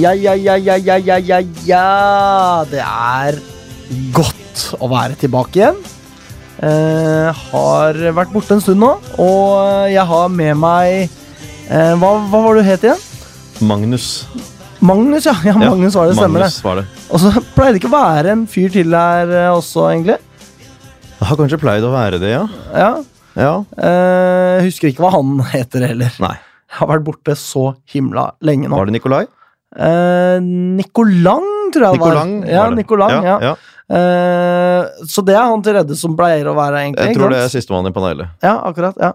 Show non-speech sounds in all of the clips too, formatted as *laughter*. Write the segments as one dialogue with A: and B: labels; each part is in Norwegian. A: Ja, ja, ja, ja, ja, ja, ja, ja. Det er godt å være tilbake igjen. Eh, har vært borte en stund nå, og eh, jeg har med meg eh, hva, hva var du het igjen?
B: Magnus.
A: Magnus, ja. ja
B: Ja,
A: Magnus var det, stemmer det.
B: Magnus var det.
A: Og så pleier det ikke å være en fyr til her eh, også, egentlig.
B: Jeg har kanskje pleid å være det, ja.
A: Ja.
B: Ja.
A: Eh, husker ikke hva han *laughs* heter heller.
B: Nei.
A: Har vært borte så himla lenge nå.
B: Var det Nikolai?
A: Eh, Nicolang, tror jeg
B: Nikolang
A: det var. Ja,
B: var det.
A: Nicolang, ja.
B: ja.
A: Eh, så det er han til redde som pleier å være, egentlig.
B: Jeg
A: ikke
B: tror det
A: sant?
B: er sistemann i panelet.
A: Ja, akkurat, ja.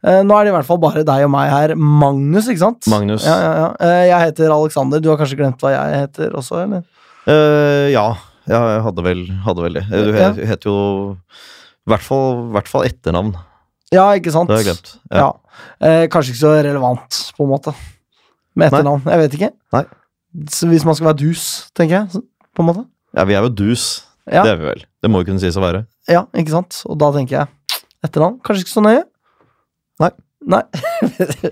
A: Eh, nå er det i hvert fall bare deg og meg her. Magnus, ikke sant?
B: Magnus.
A: Ja, ja, ja. Eh, jeg heter Alexander. Du har kanskje glemt hva jeg heter også, eller?
B: Eh, ja. ja, jeg hadde vel, hadde vel det. Eh, Du
A: Ja.
B: he- het jo i hvert fall, i hvert fall etternavn.
A: Ja, ikke sant?
B: Det har jeg glemt.
A: Ja. Eh, kanskje ikke så relevant, på en måte. Med
B: Nei.
A: etternavn. Jeg vet ikke.
B: Nei.
A: Så hvis man skal være dus, tenker jeg. så- På en måte.
B: Ja, vi er jo dus.
A: Ja.
B: Det er vi vel. Det må jo kunne sies å være.
A: Ja, ikke sant? Og da tenker jeg etternavn. Kanskje ikke så nøye?
B: Nei.
A: Nei. *laughs*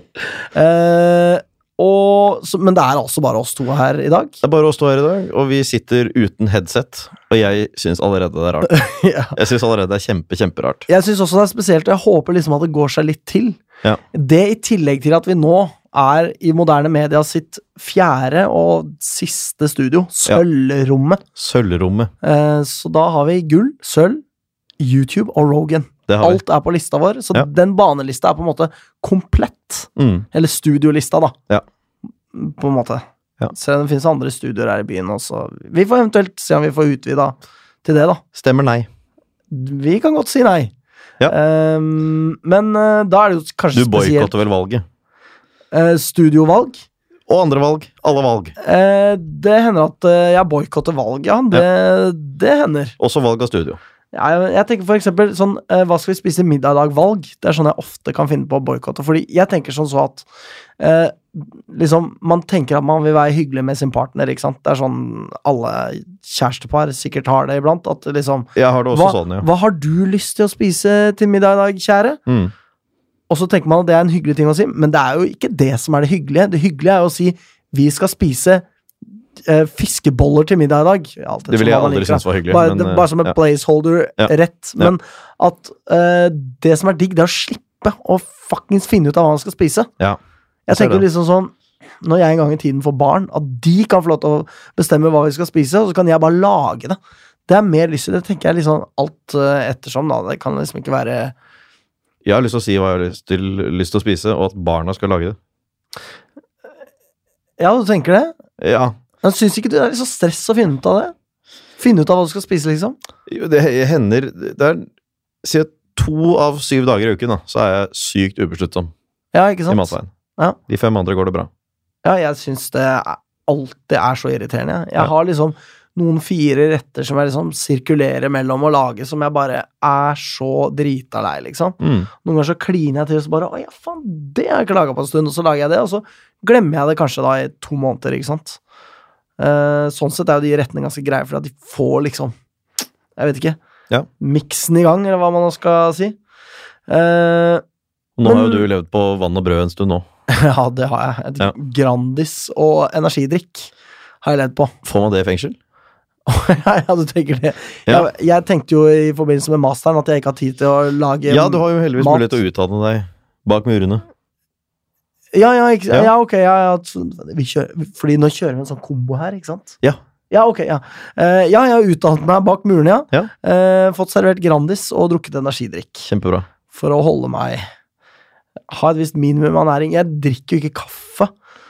A: eh, og, så, men det er altså bare oss to her i dag.
B: Det er bare å stå her i dag, og vi sitter uten headset. Og jeg syns allerede det er rart.
A: *laughs* ja.
B: Jeg syns allerede det er kjempe, kjemperart.
A: Jeg syns også det er spesielt, og jeg håper liksom at det går seg litt til.
B: Ja.
A: Det i tillegg til at vi nå er i moderne media sitt fjerde og siste studio,
B: Ja.
A: Sølvrommet.
B: Sølvrommet.
A: Eh, så da har vi gull, sølv, YouTube og Rogan.
B: Det har vi.
A: Alt er på lista vår, så
B: Ja.
A: den banelista er på en måte komplett.
B: Mm.
A: Eller studiolista, da.
B: Ja.
A: På en måte.
B: Ja.
A: Selv om det finnes andre studioer her i byen også. Vi får eventuelt se om vi får utvida til det, da.
B: Stemmer nei.
A: Vi kan godt si nei.
B: Ja.
A: Ehm, men eh, da er det jo
B: Du
A: kanskje spesielt
B: boikotter vel valget.
A: eh, studiovalg.
B: Og andre valg. Alle valg.
A: Eh, det hender at eh, jeg boikotter valg, ja. Det, det hender.
B: Også valg av studio.
A: Jeg, jeg tenker for eksempel sånn eh, Hva skal vi spise middag i dag? Valg. Det er sånn jeg ofte kan finne på å boikotte. Fordi jeg tenker sånn så at eh, liksom, Man tenker at man vil være hyggelig med sin partner, ikke sant. Det er sånn alle kjærestepar sikkert har det iblant. At liksom
B: Jeg har det også
A: hva,
B: sånn, ja.
A: hva har du lyst til å spise til middag i dag, kjære?
B: Mm.
A: Og så tenker man at det er en hyggelig ting å si, men det er jo ikke det som er det hyggelige. Det hyggelige er jo å si vi skal spise eh, fiskeboller til middag i dag. Alt
B: Det
A: som
B: ville jeg
A: man
B: aldri
A: liker, da.
B: synes var hyggelig.
A: Bare,
B: men,
A: det,
B: eh,
A: bare som en
B: ja.
A: placeholder,
B: Ja.
A: rett.
B: Ja.
A: Men at eh, det som er digg, det er å slippe å fuckings finne ut av hva man skal spise.
B: Ja.
A: Jeg
B: ser
A: tenker
B: det.
A: liksom sånn når jeg en gang i tiden får barn, at de kan få lov til å bestemme hva vi skal spise, og så kan jeg bare lage det. Det er mer lyst til det, tenker jeg liksom alt eh, ettersom, da. Det kan liksom ikke være
B: Jeg har lyst til å si hva jeg har lyst til, lyst til å spise, og at barna skal lage det.
A: Ja, du tenker det?
B: Ja,
A: Men syns ikke du det er litt så stress å finne ut av det? Finne ut av hva du skal spise, liksom?
B: jo, det hender Det er Si at to av syv dager i uken, da, så er jeg sykt ubesluttsom
A: Ja, ikke
B: i
A: sant?
B: matveien.
A: Ja.
B: De fem andre går det bra.
A: Ja, jeg syns det er- alltid er så irriterende. Jeg, jeg
B: Ja.
A: har liksom noen fire retter som jeg liksom sirkulerer mellom å lage, som jeg bare er så drita lei, liksom.
B: Mm.
A: Noen ganger så kliner jeg til og så bare Å ja, faen, det har jeg ikke laga på en stund. Og så lager jeg det, og så glemmer jeg det kanskje da i to måneder, ikke sant. Eh, sånn sett er jo de rettene ganske greie, for at de får liksom Jeg vet ikke.
B: Ja.
A: Miksen i gang, eller hva man nå skal si. Eh, *laughs*
B: Og Nå
A: Men-
B: har jo du levd på vann og brød en stund nå.
A: ja, det har jeg. Et
B: Ja.
A: Grandis og energidrikk har jeg ledd på.
B: Får man det i fengsel?
A: *laughs* ja, du tenker det.
B: Ja.
A: Jeg, jeg tenkte jo i forbindelse med masteren at jeg ikke har tid til å lage
B: Ja, du har jo heldigvis
A: mat.
B: mulighet til å utdanne deg bak murene.
A: Ja, ja, ikke, ja.
B: Ja.
A: ok. Ja, ja. t- Vi kjører, fordi nå kjører vi en sånn kombo her, ikke sant?
B: Ja.
A: Ja, ok, ja. Eh, ja, jeg har utdannet meg bak murene, ja.
B: Ja.
A: Eh, fått servert Grandis og drukket energidrikk
B: Kjempebra.
A: for å holde meg Ha et visst minimum av næring. Jeg drikker jo ikke kaffe,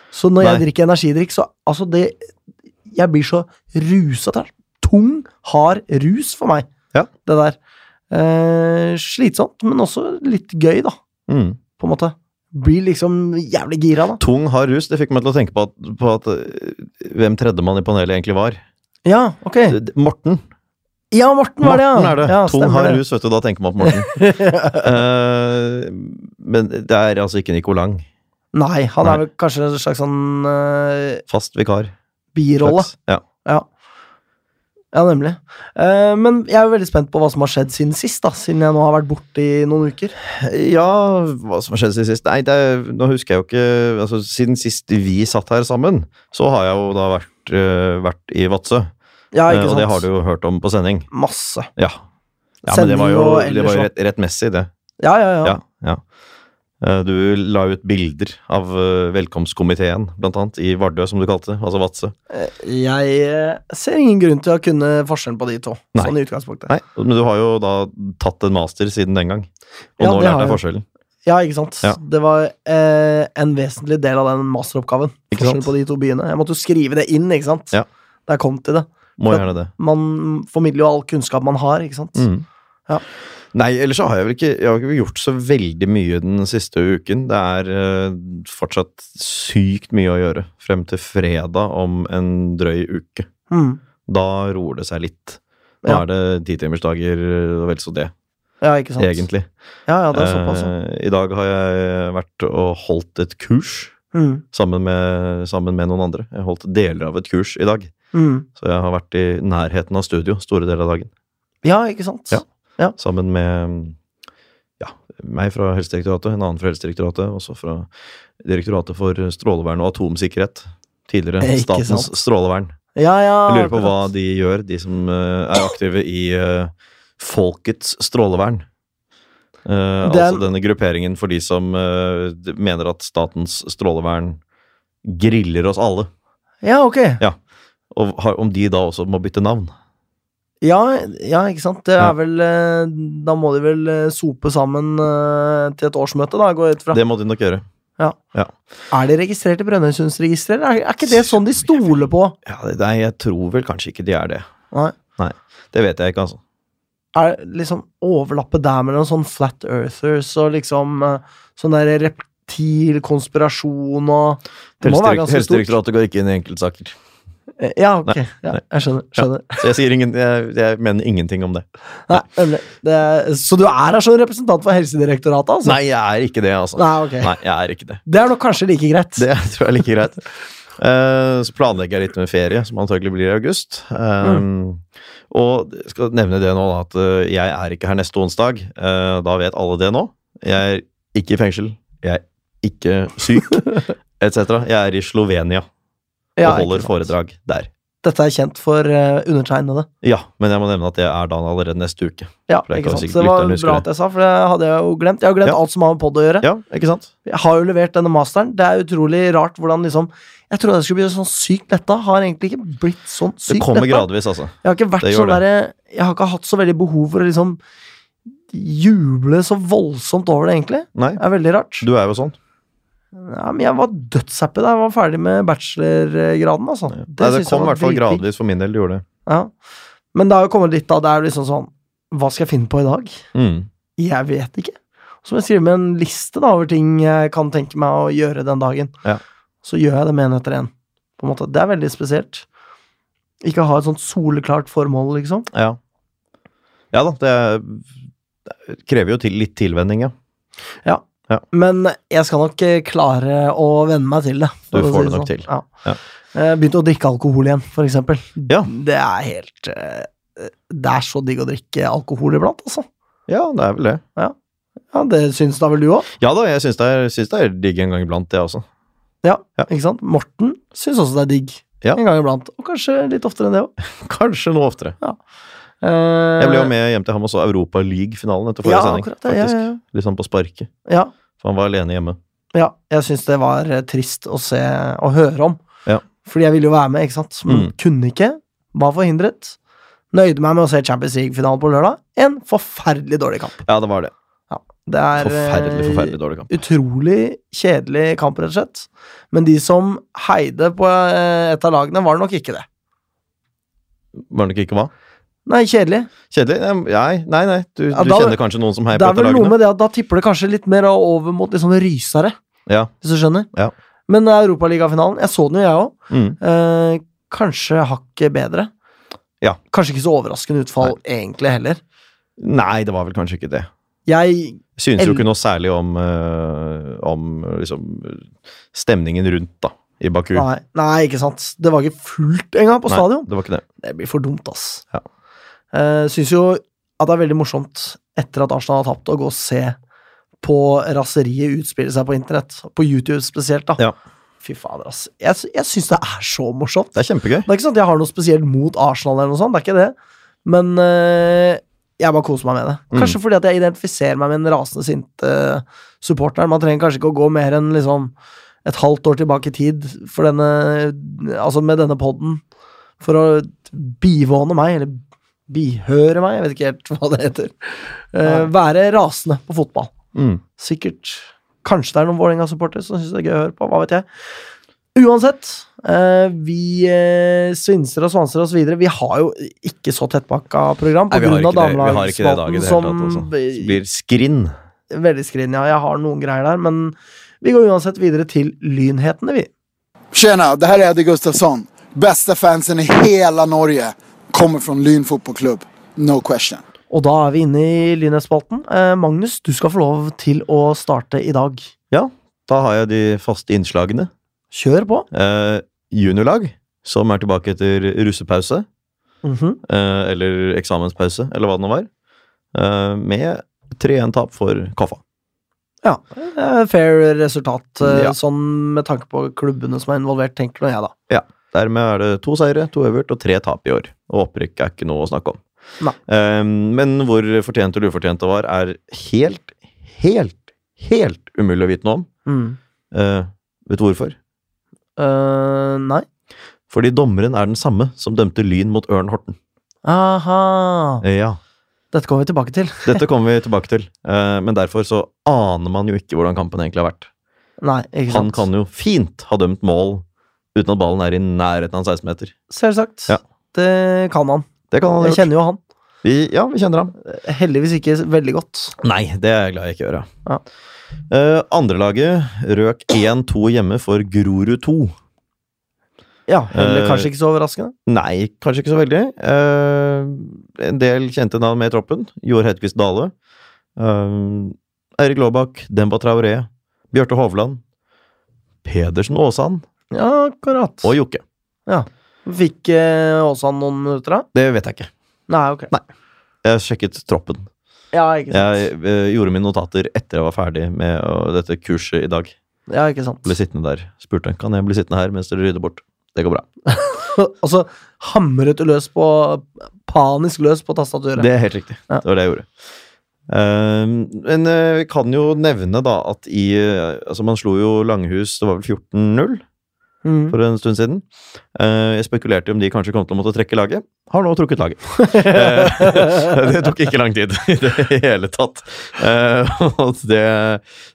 A: så når jeg
B: Nei.
A: drikker energidrikk, så altså det Jeg blir så rusa. Det er tung, hard rus for meg,
B: Ja.
A: det der. Eh, slitsomt, men også litt gøy, da,
B: Mm.
A: på en måte. Blir liksom jævlig gira, da.
B: Tung, hard rus. Det fikk meg til å tenke på at, på at eh, hvem tredjemann i panelet egentlig var.
A: Ja, ok.
B: D- d- Morten.
A: Ja, Morten Eh. var det, ja.
B: Morten er det.
A: Ja,
B: Tung,
A: stemmer
B: hard
A: det.
B: rus, vet du. Da tenker man på Morten.
A: *laughs*
B: Eh, men det er altså ikke Nicolang.
A: Nei, han
B: Nei.
A: er vel kanskje en slags sånn eh,
B: Fast vikar.
A: birolle.
B: Slags. Ja.
A: Ja. Ja, nemlig. Eh, men jeg er jo veldig spent på hva som har skjedd siden sist, da, siden jeg nå har vært borte i noen uker.
B: Ja, hva som har skjedd siden sist? Nei, det er, nå husker jeg jo ikke altså, Siden sist vi satt her sammen, så har jeg jo da vært, eh, vært i Vadsø.
A: Ja,
B: Eh,
A: ikke sant?
B: og det har du jo hørt om på sending.
A: Masse.
B: Ja. ja men det var jo,
A: Sending og
B: det
A: ellers
B: var jo
A: også.
B: rett, rettmessig, det.
A: Ja, ja, ja.
B: Ja, ja. Eh, Du la ut bilder av eh, velkomstkomiteen, blant annet, i Vardø, som du kalte det. Altså Vadsø.
A: Eh, Jeg eh, ser ingen grunn til å kunne forskjellen på de to.
B: Nei.
A: Sånn i utgangspunktet.
B: Nei, men du har jo da tatt en master siden den gang. Og
A: Ja,
B: nå
A: det
B: lærte
A: har
B: jeg
A: jeg.
B: forskjellen.
A: Ja, ikke sant?
B: Ja.
A: Det var eh, en vesentlig del av den masteroppgaven.
B: Ikke
A: Forskjellen
B: sant?
A: på de to byene. Jeg måtte jo skrive det inn, ikke sant?
B: Ja.
A: Da jeg kom til det.
B: Må
A: Ja.
B: gjerne det.
A: Man formidler jo all kunnskap man har, ikke sant?
B: Mm.
A: Ja.
B: Nei, ellers så har jeg vel ikke, jeg har ikke gjort så veldig mye den siste uken. Det er eh, fortsatt sykt mye å gjøre frem til fredag om en drøy uke.
A: Mm.
B: Da roer det seg litt. Nå
A: Ja.
B: er det titimersdager og eh, vel så det,
A: Ja, ikke sant?
B: egentlig.
A: Ja, ja, det er såpass. ja.
B: Eh, I dag har jeg vært og holdt et kurs
A: Mm.
B: sammen med, sammen med noen andre. Jeg har holdt deler av et kurs i dag.
A: Mm.
B: Så jeg har vært i nærheten av studio store deler av dagen.
A: Ja, ikke sant?
B: Ja. Sammen med ja, meg fra Helsedirektoratet, en annen fra Helsedirektoratet, også fra Direktoratet for strålevern og atomsikkerhet. Tidligere
A: Eh, ikke
B: Statens strålevern.
A: ja, ja
B: Jeg lurer på hva
A: akkurat.
B: de gjør, de som eh, er aktive i eh, Folkets strålevern. Eh,
A: Det er-
B: Altså denne grupperingen for de som eh, d- mener at Statens strålevern griller oss alle.
A: Ja, ok.
B: Og har, om de da også må bytte navn.
A: Ja, ja, ikke sant. Det
B: Ja.
A: er vel eh, Da må de vel eh, sope sammen eh, til et årsmøte, da, går jeg ut fra.
B: Det må de nok gjøre.
A: Er de registrert i Brønnøysundsregisteret? Er, er ikke det sånn de stoler på?
B: Ja, det- Nei, jeg tror vel kanskje ikke de er det.
A: Nei.
B: Det vet jeg ikke, altså.
A: Er liksom overlappet der mellom sånn flat earthers og liksom eh, sånn der reptil konspirasjon og Det må være
B: Helsedirekt-
A: ganske stort.
B: Helsedirektoratet går ikke inn i enkeltsaker.
A: Eh, Ja, ok. Ja,
B: nei.
A: jeg skjønner. skjønner.
B: Så jeg, sier ingen, jeg, jeg mener ingenting om det.
A: Nei, nemlig. Det er, så du er her som representant for Helsedirektoratet, altså?
B: Nei, jeg er ikke det, altså.
A: Nei, ok.
B: Nei, jeg er ikke det.
A: Det er nok kanskje like greit.
B: Det *laughs* tror jeg er like greit. Eh, så planlegger jeg litt med ferie, som antagelig blir i august. Eh, Og jeg skal nevne det nå, da, at eh, jeg er ikke her neste onsdag. Eh, da vet alle det nå. Jeg er ikke i fengsel. Jeg er ikke
A: *laughs*
B: syk, etc. Jeg er i Slovenia
A: Ja,
B: og
A: ikke
B: holder
A: sant.
B: foredrag der.
A: Dette er kjent for eh, undertegnede.
B: Ja, men jeg må nevne at jeg er da allerede neste uke.
A: Ja,
B: For det
A: ikke
B: kan
A: sant?
B: sikkert
A: Det var
B: lytterne huske
A: bra
B: det.
A: at jeg sa, for det hadde jeg jo glemt. Jeg har glemt
B: Ja.
A: alt som har med pod å gjøre.
B: Ja, ikke sant?
A: Jeg har jo levert denne masteren. Det er utrolig rart hvordan liksom Jeg trodde jeg skulle bli sånn sykt letta. Har egentlig ikke blitt sånn
B: Det
A: sykt
B: kommer
A: letta.
B: gradvis, altså.
A: Jeg har ikke vært
B: Det gjør
A: sånn derre Jeg har ikke hatt så veldig behov for å liksom juble så voldsomt over det, egentlig.
B: Nei,
A: Det er veldig rart.
B: du er jo sånn.
A: Ja, men jeg var dødshappy da jeg var ferdig med bachelorgraden, altså.
B: Det, Nei, det
A: synes jeg
B: kom i
A: var
B: hvert fall
A: dritdigg.
B: gradvis for min del. Det gjorde det.
A: Ja. Men det har jo kommet litt da, det er jo liksom sånn Hva skal jeg finne på i dag?
B: Mm.
A: Jeg vet ikke. Så må jeg skrive med en liste da, over ting jeg kan tenke meg å gjøre den dagen.
B: Ja.
A: Så gjør jeg det med en etter en. På en måte. Det er veldig spesielt. Ikke ha et sånt soleklart formål, liksom.
B: Ja. ja da, det, det krever jo til, litt tilvenning, ja.
A: Men jeg skal nok eh, klare å venne meg til det. for
B: Du
A: å
B: får
A: si
B: det nok til.
A: Ja.
B: Ja.
A: Eh, Begynte å drikke alkohol igjen, for eksempel.
B: Ja.
A: Det er helt eh, Det er så digg å drikke alkohol iblant, altså.
B: Ja, det er vel det.
A: Ja, Det syns da vel du òg?
B: Ja da, jeg syns det er, syns det er digg en gang iblant, det også. *laughs*
A: Ja,
B: Ja.
A: ikke sant? Morten syns også det er digg.
B: Ja.
A: En gang iblant. Og kanskje litt oftere enn det òg.
B: Kanskje noe oftere.
A: Eh,
B: Jeg ble jo med hjem til ham og så Europa League-finalen etter forrige
A: ja,
B: sending.
A: akkurat det, ja,
B: faktisk.
A: ja,
B: Litt sånn på sparket.
A: ja.
B: For han var alene hjemme.
A: ja, ja. Jeg syns det var eh, trist å se og høre om.
B: Ja.
A: Fordi jeg ville jo være med, ikke sant. Men
B: Mm.
A: kunne ikke. Var forhindret. Nøyde meg med å se Champions League-finalen på lørdag. En forferdelig dårlig kamp.
B: Ja, det var det.
A: Det er eh,
B: Forferdelig, forferdelig dårlig kamp.
A: Utrolig kjedelig kamp, rett og slett. Men de som heide på eh, et av lagene, var nok ikke det.
B: Var det nok ikke hva?
A: Nei, kjedelig.
B: Kjedelig? Nei, nei, nei. Du,
A: Ja,
B: du
A: da-
B: kjenner kanskje noen som heier
A: Det
B: på
A: er
B: dette
A: vel noe
B: laget?
A: med det at da tipper det kanskje litt mer over mot liksom rysere,
B: Ja.
A: hvis du skjønner.
B: Ja.
A: Men Europaligafinalen, jeg så den jo jeg òg.
B: Mm.
A: Eh, kanskje hakket bedre.
B: Ja.
A: Kanskje ikke så overraskende utfall, egentlig, heller.
B: Nei, det var vel kanskje ikke det.
A: Jeg
B: Synes
A: El-
B: jo ikke noe særlig om, eh, om eh, liksom, eh, stemningen rundt, da. i Baku.
A: Nei, nei, ikke sant. Det var ikke fullt engang på
B: Nei,
A: stadion.
B: Det var ikke det.
A: Det blir for dumt, ass.
B: Ja.
A: Eh, Syns jo at det er veldig morsomt, etter at Arsenal har tapt, å gå og se på raseriet utspille seg på internett. På YouTube spesielt, da.
B: Ja.
A: Fy fader, ass. Jeg, sy- jeg syns det er så morsomt.
B: Det er kjempegøy.
A: Det er ikke sånn at jeg har noe spesielt mot Arsenal, eller noe sånt, det er ikke det. Men eh, jeg bare koser meg med det. Kanskje fordi at jeg identifiserer meg med den rasende sinte eh, supporteren. Man trenger kanskje ikke å gå mer enn liksom et halvt år tilbake i tid for denne, altså med denne poden for å bivåne meg, eller bihøre meg, jeg vet ikke helt *laughs* hva det heter. Eh, være rasende på fotball.
B: Mm.
A: Sikkert. Kanskje det er noen Vålerenga-supportere som syns det er gøy å høre på. Hva vet jeg. Uansett, eh, vi eh, svinser og svanser oss videre. Vi har jo ikke så tettpakka program
B: Nei, vi har
A: pga.
B: ikke det. Vi har ikke det i
A: damelagsspalten
B: dag i det hele tatt.
A: som eh,
B: altså. Det blir skrinn.
A: Veldig skrin, ja. Jeg har noen greier der, men vi går uansett videre til lynhetene, vi.
C: Tjena, det här är Eddie Gustafsson. Bästa fansen i hela Norge. Kommer från Lyn fotbollsklubb. No question.
A: Og da er vi inne i lynhetsspalten. Eh, Magnus, du skal få lov til å starte i dag.
B: Ja, da har jeg de faste innslagene.
A: Kjør på.
B: Eh, juniorlag, som er tilbake etter russepause.
A: Mhm.
B: eh, eller eksamenspause, eller hva det nå var. eh, med 3-1-tap for Koffa.
A: Ja. eh, Fair resultat, eh,
B: Ja.
A: sånn med tanke på klubbene som er involvert, tenker nå jeg, da.
B: Dermed er det to seire, to øvert og tre tap i år. Og opprykk er ikke noe å snakke om.
A: Nei.
B: Eh, men hvor fortjent eller ufortjent det var, er helt, helt, helt umulig å vite noe om.
A: Mm.
B: Eh, vet du hvorfor?
A: Eh, nei.
B: Fordi dommeren er den samme som dømte Lyn mot Ørn Horten.
A: Aha.
B: Eh, ja.
A: Dette kommer vi tilbake til.
B: *laughs* Dette kommer vi tilbake til, eh, men derfor så aner man jo ikke hvordan kampen egentlig har vært.
A: Nei, ikke
B: Han
A: sant.
B: kan jo fint ha dømt mål uten at ballen er i nærheten av 16-meter.
A: Selvsagt.
B: Ja.
A: Det kan han.
B: Det kan han ha
A: Jeg
B: gjort.
A: kjenner jo han.
B: Vi, ja, vi kjenner ham.
A: Heldigvis ikke veldig godt.
B: Nei, det er jeg glad jeg ikke gjør,
A: Ja.
B: Eh, Andrelaget røk 1-2 hjemme for Grorud 2.
A: Ja, heller
B: Eh,
A: kanskje ikke så overraskende.
B: Nei, kanskje ikke så veldig. Eh, en del kjente navn med i troppen. Joar Hedquist Dale. Eh, Eirik Laabak. Demba Traoré. Bjarte Hovland. Pedersen Aasand.
A: Ja, akkurat.
B: Og Jokke.
A: Fikk eh, Åsan noen minutter, da?
B: Det vet jeg ikke.
A: Nei, ok.
B: Jeg sjekket troppen.
A: Ja, ikke sant.
B: Jeg eh, gjorde mine notater etter jeg var ferdig med eh, dette kurset i dag.
A: Ja, ikke sant.
B: Ble sittende der. Spurte kan jeg bli sittende her mens dere rydder bort. Det går bra.
A: *laughs* Og så hamret du løs på Panisk løs på tastaturet.
B: Det er helt riktig.
A: Ja.
B: Det var det jeg gjorde. Ehm, men eh, vi kan jo nevne da at i eh, Altså, man slo jo Langhus, det var vel 14-0
A: Mm.
B: for en stund siden. Eh, jeg spekulerte om de kanskje kom til å måtte trekke laget. Har nå
A: *laughs*
B: trukket laget. Eh, *laughs* det tok ikke lang tid i det hele tatt. Eh, *laughs* og det,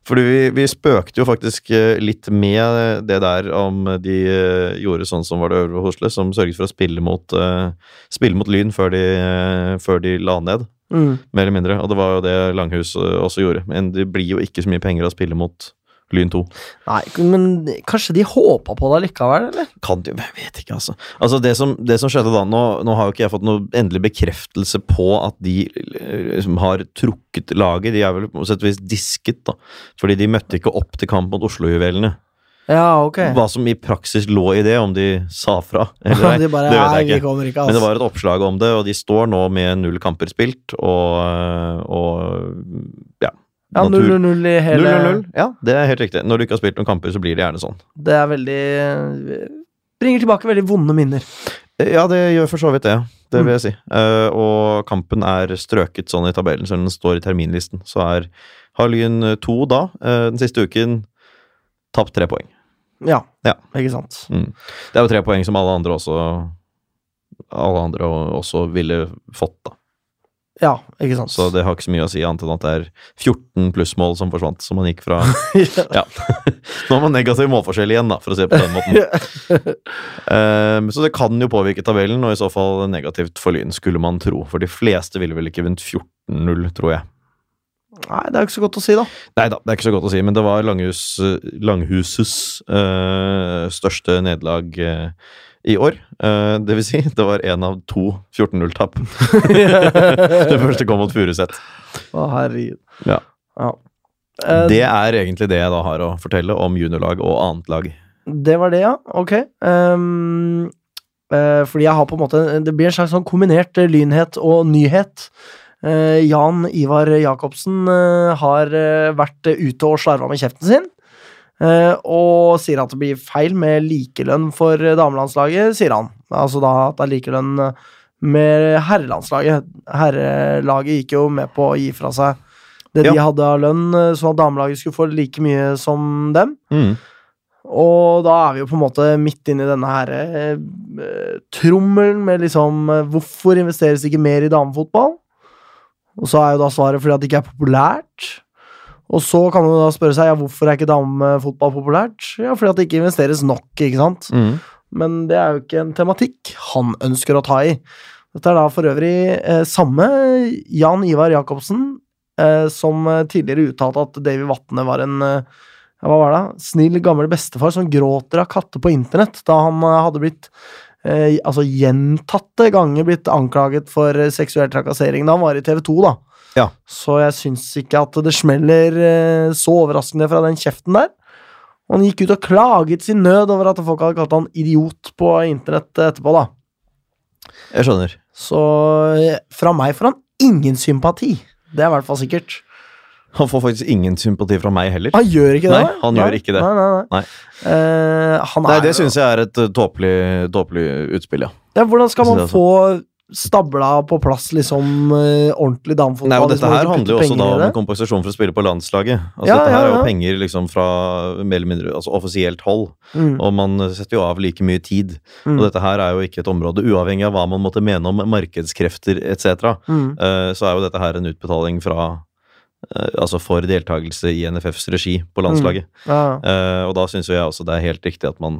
B: fordi vi, vi spøkte jo faktisk eh, litt med det der om de eh, gjorde sånn som var det øvre Hosle, som sørget for å spille mot, eh, spille mot Lyn før de, eh, før de la ned,
A: Mm.
B: mer eller mindre. Og det var jo det Langhus eh, også gjorde. Men det blir jo ikke så mye penger å spille mot Lyn 2.
A: Nei, men kanskje de håpa på det likevel, eller?
B: kan det jo Jeg vet ikke, altså. altså det, som, det som skjedde da Nå, nå har jo ikke jeg fått noen endelig bekreftelse på at de eh, liksom, har trukket laget. De er vel på sett og vis disket, da. Fordi de møtte ikke opp til kamp mot Oslojuvelene.
A: Ja, ok.
B: Hva som i praksis lå i det, om de sa fra
A: *laughs*
B: eller
A: de
B: ei,
A: bare,
B: det
A: nei,
B: vet jeg
A: vi
B: ikke.
A: kommer ikke,
B: Men det
A: altså.
B: var et oppslag om det, og de står nå med null kamper spilt og, eh, og ja.
A: Ja,
B: natur-
A: 0-0 i hele
B: 0-0-0, Ja, det er helt riktig. Når du ikke har spilt noen kamper, så blir det gjerne sånn.
A: Det er veldig eh, Bringer tilbake veldig vonde minner.
B: Eh, Ja, det gjør for så vidt det. Det vil jeg si. Eh, og kampen er strøket sånn i tabellen, selv om den står i terminlisten. Så er, har Lyn to da, eh, den siste uken, tapt tre poeng.
A: Ja,
B: Ja.
A: ikke sant.
B: Det er jo tre poeng som alle andre også alle andre o- også ville fått, da.
A: Ja, ikke sant.
B: Så det har ikke så mye å si, annet enn at det er 14 plussmål som forsvant, så man gikk fra Ja. *laughs* Nå har man negativ målforskjell igjen, da, for å si det på den måten. *laughs* Ehm, så det kan jo påvirke tabellen, og i så fall negativt for Lyn, skulle man tro. For de fleste ville vel ikke vunnet 14-0, tror jeg.
A: Nei, det er jo ikke så godt å
B: *laughs*
A: si, da.
B: Nei da, det er ikke så godt å si, men det var Langhus, Langhusets eh, største nederlag eh, i år. Eh, det vil si, det var én av to 14-0-tap. det første kom mot Furuset.
A: Å, herregud.
B: Ja.
A: Ja. Eh, Um,
B: Det er egentlig det jeg da har å fortelle om juniorlag og annet lag.
A: Det var det, ja. Ok. Ehm, eh, fordi jeg har på en måte Det blir en slags sånn kombinert eh, lynhet og nyhet. Eh, Jan Ivar Jacobsen eh, har eh, vært eh, ute og slarva med kjeften sin. eh, og sier at det blir feil med likelønn for eh, damelandslaget, sier han. Altså da at det er likelønn eh, med herrelandslaget. Herrelaget gikk jo med på å gi fra seg det de
B: Ja.
A: hadde av lønn, eh, sånn at damelaget skulle få like mye som dem.
B: Mm.
A: Og da er vi jo på en måte midt inne i denne her eh, trommelen med liksom eh, Hvorfor investeres det ikke mer i damefotball? Og så er jo da svaret fordi at det ikke er populært. Og så kan man da spørre seg ja, hvorfor er ikke damefotball populært? Ja, fordi at det ikke investeres nok, ikke sant?
B: Mm.
A: Men det er jo ikke en tematikk han ønsker å ta i. Dette er da for øvrig eh, samme Jan Ivar Jacobsen eh, som eh, tidligere uttalte at Davy Vatne var en eh, hva var det? da? snill, gammel bestefar som gråter av katter på internett, da han eh, hadde blitt eh, altså gjentatte ganger blitt anklaget for eh, seksuell trakassering da han var i TV 2, da.
B: Ja.
A: Så jeg syns ikke at det smeller eh, så overraskende fra den kjeften der. Og han gikk ut og klaget sin nød over at folk hadde kalt han idiot på internett etterpå, da.
B: Jeg skjønner.
A: Så eh, fra meg får han ingen sympati. Det er i hvert fall sikkert.
B: Han får faktisk ingen sympati fra meg heller.
A: Han gjør ikke det.
B: Nei, han gjør ikke det.
A: Nei, nei, nei.
B: Nei.
A: Eh, han
B: Nei,
A: er,
B: det syns jeg er et eh, tåpelig, tåpelig utspill, ja.
A: ja, Hvordan skal man
B: Jeg synes det
A: få stabla på plass liksom eh, ordentlig damefotball?
B: Nei, og
A: hvis
B: dette
A: man
B: her
A: ikke
B: handler jo
A: putter
B: også da
A: penger i
B: om
A: det?
B: en kompensasjon for å spille på landslaget. Altså,
A: Ja,
B: dette her
A: ja,
B: er jo
A: ja.
B: penger liksom fra mer eller mindre altså, offisielt hold,
A: Mm.
B: og man setter jo av like mye tid.
A: Mm.
B: Og dette her er jo ikke et område, uavhengig av hva man måtte mene om markedskrefter etc.,
A: Mm.
B: eh, så er jo dette her en utbetaling fra eh, Altså for deltakelse i NFFs regi
A: Mm.
B: på landslaget.
A: Ja, ja.
B: Eh, og da syns jo jeg også det er helt riktig at man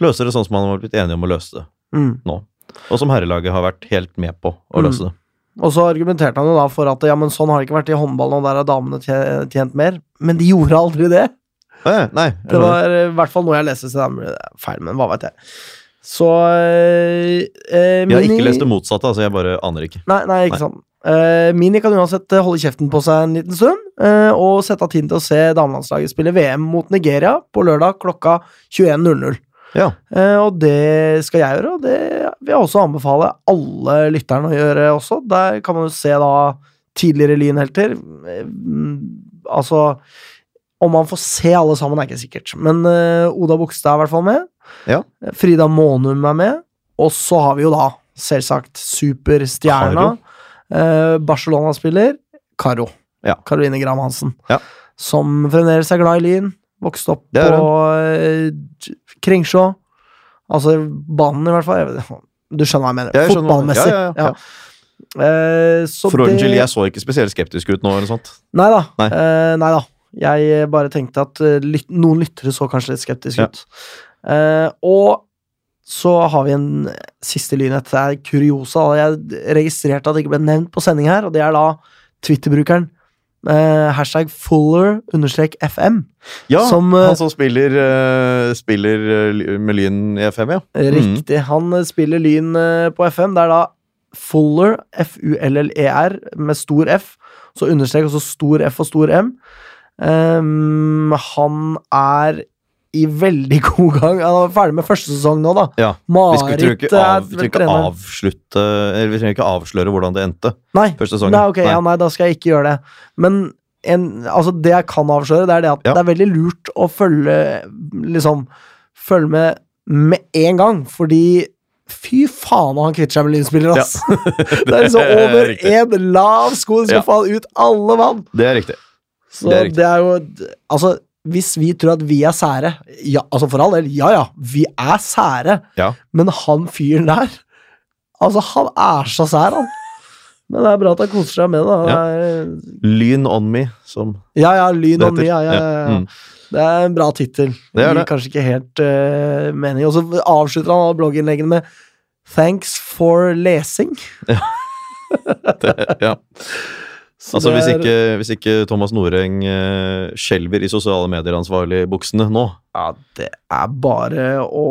B: løser det sånn som man har blitt enige om å løse det
A: Mm.
B: nå. Og som herrelaget har vært helt med på å
A: Mm.
B: løse det.
A: Og så argumenterte han jo da for at ja, men sånn har det ikke vært i håndballen, og der har damene tje- tjent mer. Men de gjorde aldri det.
B: Eh, nei, jeg
A: Det
B: skjønner.
A: var eh, i hvert fall noe jeg leste, så det er feil, men hva veit jeg. Så eh, eh,
B: Jeg har
A: Mini-
B: ikke lest det motsatte, altså jeg bare aner ikke.
A: Nei, nei ikke
B: Nei.
A: sant. Eh, Mini kan uansett eh, holde kjeften på seg en liten stund, eh, og sette av tiden til å se damelandslaget spille VM mot Nigeria på lørdag klokka 21.00.
B: Ja.
A: Eh, og det skal jeg gjøre, og det vil jeg også anbefale alle lytterne å gjøre også. Der kan man jo se da tidligere lynhelter. Eh, mm, Altså Om man får se alle sammen, er ikke sikkert. Men eh, Oda Bogstad er i hvert fall med.
B: Ja.
A: Eh, Frida Månum er med. Og så har vi jo da selvsagt superstjerna.
B: Caro.
A: Eh, Barcelona-spiller Caro.
B: Ja.
A: Caroline Graham Hansen.
B: Ja.
A: Som fremdeles er glad i Lyn. Vokste opp
B: Det er
A: på eh, Kringsjå. Altså banen, i hvert fall. Jeg vet, ikke. du skjønner hva jeg mener.
B: Jeg skjønner hva du mener.
A: Fotballmessig.
B: Ja, ja, ja, ja.
A: Eh, så
B: For ordens
A: det-
B: skyld, jeg så ikke spesielt skeptisk ut nå, eller sånt.
A: Nei da.
B: Nei.
A: Eh, nei da. Jeg eh, bare tenkte at eh, lyt noen lyttere så kanskje litt skeptiske
B: Ja.
A: ut. Eh, og så har vi en siste lynhet. Det er kuriosa. da. Jeg registrerte at det ikke ble nevnt på sending her, og det er da Twitter-brukeren eh, hashtag Fuller understrek FM.
B: Ja,
A: Som, eh,
B: han som spiller, eh, spiller eh, med Lyn i FM, ja.
A: Riktig. Han eh, spiller Lyn eh, på FM. Det er da Fuller, F-U-L-L-E-R, E med stor F. Så understrek også stor F og stor M. Ehm, han er i veldig *laughs* god gang. Han er ferdig med første sesong nå, da.
B: ja. Vi skulle
A: Marit
B: ikke,
A: er
B: av, vi trenger ikke
A: trener.
B: avslutte Eller vi trenger ikke avsløre hvordan det endte
A: Nei,
B: første sesongen.
A: Nei, ok, ja, nei, da skal jeg ikke gjøre det. Men en, altså, det jeg kan avsløre, det er det at
B: Ja.
A: det er veldig lurt å følge liksom, følge med med en gang, fordi Fy faen, han kvitter seg med lynspillere,
B: *laughs*
A: ass! det er liksom over
B: riktig.
A: én lav sko, det skal
B: Ja.
A: faen ut alle vann!
B: Det er riktig.
A: Så
B: Det
A: det er,
B: er riktig.
A: jo Altså, hvis vi tror at vi er sære Ja, altså for all del, ja ja, vi er sære,
B: Ja.
A: men han fyren der Altså, han er så sær, han. Men det er bra at han koser seg med det. da. Det er-
B: Lyn on me, som
A: Ja ja, lyn
B: det
A: og mye,
B: heter.
A: ja, ja, ja, ja.
B: Mm.
A: Det er en bra tittel.
B: Det er
A: Gir
B: det.
A: Kanskje ikke helt eh, mening. Og så avslutter han alle blogginnleggene med 'Thanks for lesing'.
B: *laughs* ja.
A: Så
B: Altså,
A: det
B: hvis
A: er-
B: ikke, hvis ikke Thomas Noreng eh, skjelver i sosiale medier-ansvarlig-buksene nå
A: Ja, det er bare å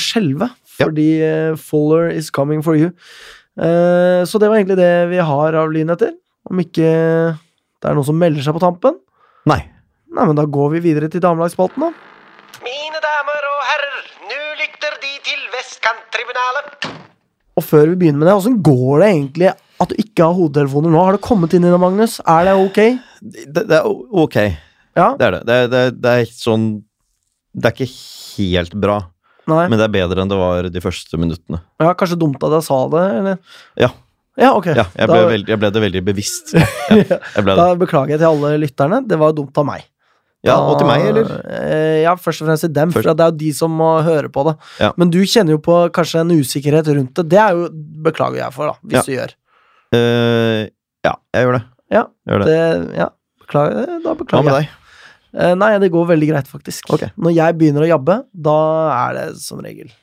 A: skjelve,
B: Ja.
A: fordi eh, Fuller is coming for you. Eh, Så det var egentlig det vi har av lynheter. Om ikke det er noen som melder seg på tampen,
B: Nei.
A: nei, men da går vi videre til damelagsspalten, da.
D: Mine damer og herrer, nå lytter De til Vestkanttribunalet.
A: Og før vi begynner med det, åssen går det egentlig at du ikke har hodetelefoner nå? Har det kommet inn i det, Magnus? Er det ok?
B: Det, det er o- ok,
A: Ja?
B: det er det. Det, er- det, er- det er ikke sånn Det er ikke helt bra,
A: Nei?
B: men det er bedre enn det var de første minuttene.
A: Ja, kanskje dumt at jeg sa det, eller?
B: Ja.
A: Ja, ok.
B: Ja, jeg ble,
A: da,
B: veld, jeg ble det veldig bevisst. *laughs* Ja, jeg ble
A: da
B: det.
A: beklager jeg til alle lytterne. Det var dumt av meg.
B: Ja, og til meg, eller?
A: Eh, Ja, først og fremst til dem,
B: Først-
A: for det er jo de som må høre på det.
B: Ja.
A: Men du kjenner jo på kanskje en usikkerhet rundt det. Det er jo, beklager jeg for, da, hvis
B: Ja.
A: du gjør.
B: Eh, ja, jeg gjør det.
A: Ja,
B: Jeg gjør det.
A: Det, ja, beklager, da
B: Hva
A: beklager
B: med
A: jeg.
B: deg?
A: Eh, Nei, det går veldig greit, faktisk.
B: Ok.
A: Når jeg begynner å jabbe, da er det som regel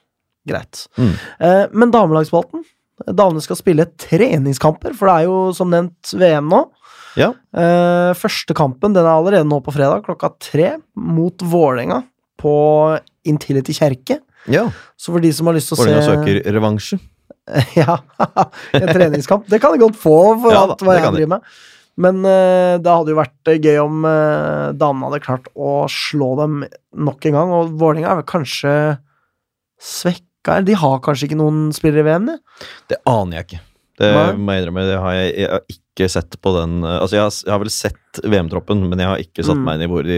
A: greit.
B: Mm.
A: Eh, Men damelagsspalten Damene skal spille treningskamper, for det er jo som nevnt VM nå.
B: Ja.
A: Eh, Første kampen den er allerede nå på fredag klokka tre mot Vålerenga på Intility kjerke.
B: Ja,
A: Så for de som har lyst til å
B: Vålerenga
A: se
B: søker revansje.
A: *laughs* ja, en treningskamp. Det kan de godt få for
B: Ja da,
A: alt hva
B: det
A: jeg
B: kan de.
A: driver med. Men eh, det hadde jo vært eh, gøy om eh, damene hadde klart å slå dem nok en gang. Og Vålerenga er vel kanskje svekka eller De har kanskje ikke noen spillere i VM, de?
B: Det aner jeg ikke. Det
A: Nei.
B: må jeg innrømme, det har jeg, jeg har ikke sett på den eh, Altså, jeg har, s- jeg har vel sett VM-troppen, men jeg har ikke satt
A: Mm.
B: meg inn i hvor de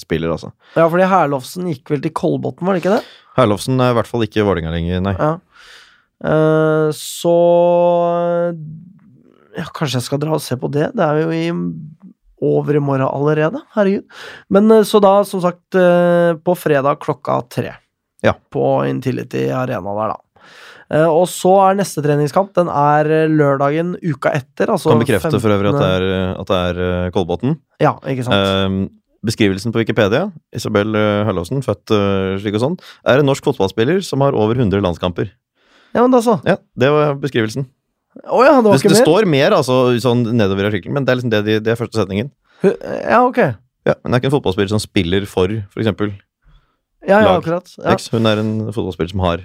B: spiller, altså.
A: Ja, fordi Herlofsen gikk vel til Kolbotn, var det ikke det?
B: Herlofsen er i hvert fall ikke i Vålerenga lenger, nei.
A: Ja. Eh, så ja, Kanskje jeg skal dra og se på det. Det er jo i over i morgen allerede. Herregud. Men eh, så da, som sagt, eh, på fredag klokka tre.
B: Ja.
A: På Intility Arena der, da. Eh, og så er neste treningskamp. Den er eh, lørdagen uka etter. Altså
B: Kan bekrefte for øvrig at det
A: 15..
B: er, eh, at det er eh, Kolbotn.
A: Ja, ikke sant.
B: Eh, beskrivelsen på Wikipedia, Isabel eh, Herlofsen, født eh, slik og sånn, er en norsk fotballspiller som har over 100 landskamper.
A: ja, men da så.
B: Ja, det var beskrivelsen.
A: Å ja, det
B: Det,
A: var ikke
B: det
A: mer?
B: står mer altså, sånn nedover i artikkelen, men det er liksom det, de, det er første setningen.
A: Hu- Ja, ok.
B: Ja, men det er ikke en fotballspiller som spiller for, for eksempel
A: Ja, ja,
B: Lag.
A: akkurat. Ja.
B: X. Hun er en fotballspiller som har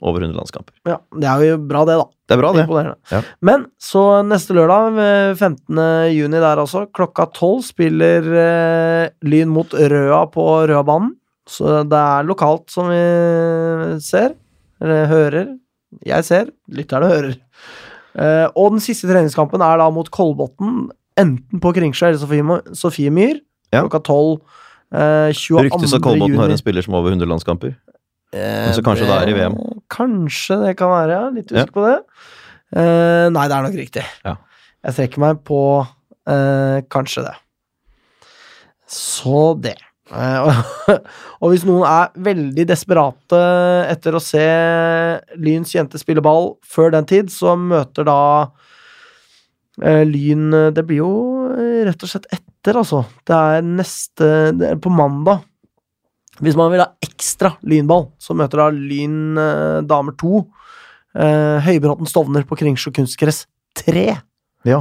B: over 100 landskamper.
A: ja, Det er jo bra, det, da.
B: Det er bra, det.
A: Imponerende.
B: Ja.
A: Men så neste lørdag, eh, 15. juni der også, klokka 12 spiller eh, Lyn mot Røa på Røabanen. Så det er lokalt som vi ser, eller hører. Jeg ser, lytterne hører. Eh, og den siste treningskampen er da mot Kolbotn, enten på Kringsjø eller Sofiemo- Sofiemyr.
B: Ja.
A: Klokka 12. Eh, 22.
B: Ryktes at Kolbotn
A: juni.
B: har en spiller som har over 100 landskamper. Men så kanskje det er i VM.
A: Eh, Kanskje det kan være, ja. Litt
B: Ja.
A: usikker på det. Eh, nei, det er nok riktig.
B: Ja.
A: Jeg trekker meg på eh, kanskje det. Så det. Eh, og, *laughs* og hvis noen er veldig desperate etter å se Lyns jente spille ball før den tid, så møter da eh, Lyn eh, Det blir jo eh, rett og slett etter, altså. Det er neste det er På mandag. Hvis man vil ha ekstra lynball, så møter da Lyn eh, damer 2 eh, Høybråten Stovner på Kringsjå kunstgress 3.
B: Ja.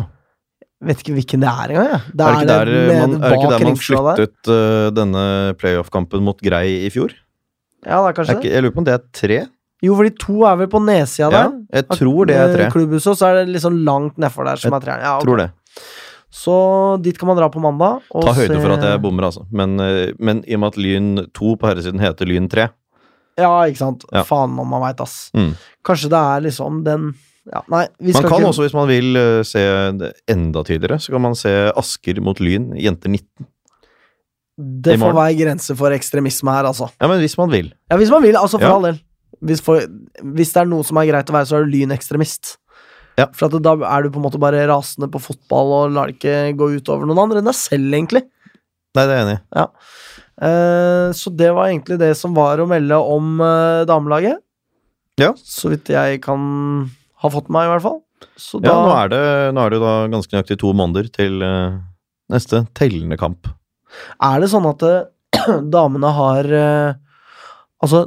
A: Vet ikke hvilken det er engang, jeg. Det
B: Er det ikke der eh,
A: nede
B: man, er det ikke
A: bak
B: der man
A: Kringsjå der.
B: flyttet eh, denne playoff-kampen mot Grei i fjor?
A: Ja, det er
B: Er
A: kanskje det.
B: ikke, jeg lurer på om det er tre?
A: Jo, for de to er vel på nedsida
B: Ja,
A: der.
B: jeg tror det er tre.
A: Eh, Klubbhuset, og så er det liksom langt nedfor der som er treeren. Ja, ok.
B: Tror det.
A: Så dit kan man dra på mandag. og
B: Ta høyde
A: se-
B: for at jeg bommer, altså. Men, eh, men i og med at Lyn 2 på herresiden heter Lyn 3
A: Ja, ikke sant.
B: Ja.
A: Faen om man veit, ass.
B: Mm.
A: Kanskje det er liksom den Ja, nei, vi
B: Man
A: skal
B: kan
A: ikke
B: også, hvis man vil eh, se det enda tidligere, så kan man se Asker mot Lyn, jenter 19.
A: Det
B: i
A: får
B: morgen.
A: være grenser for ekstremisme her, altså.
B: Ja, men hvis man vil.
A: Ja, hvis man vil, altså for
B: Ja.
A: all del. Hvis, for, hvis det er noe som er greit å være, så er du lynekstremist.
B: Ja.
A: For at da er du på en måte bare rasende på fotball og lar det ikke gå ut over noen andre enn deg selv, egentlig.
B: Nei, det er jeg enig i.
A: Eh, så det var egentlig det som var å melde om eh, damelaget.
B: Ja.
A: Så vidt jeg kan ha fått med meg, i hvert fall. Så da
B: Ja, nå er, det, nå er det jo da ganske nøyaktig to måneder til eh, neste tellende kamp.
A: Er det sånn at eh, *clears throat* damene har eh, Altså,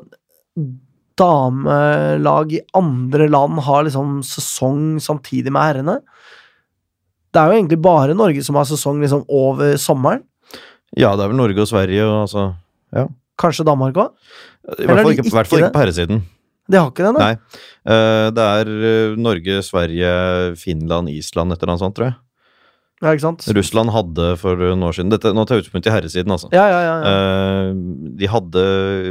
A: damelag i andre land har liksom sesong samtidig med herrene? Det er jo egentlig bare Norge som har sesong liksom over sommeren.
B: Ja, det er vel Norge og Sverige og altså
A: Kanskje Danmark òg?
B: I
A: Eller
B: hvert
A: er
B: fall
A: det
B: ikke, i hvert fall
A: ikke
B: ikke på herresiden.
A: De har ikke det, nei?
B: Nei. Eh, det er eh, Norge, Sverige, Finland, Island, et eller annet sånt, tror jeg.
A: Ja, ikke sant?
B: Russland hadde for noen år siden Dette, Nå tar jeg utgangspunkt i herresiden, altså.
A: Ja, ja, ja. ja.
B: Eh, de hadde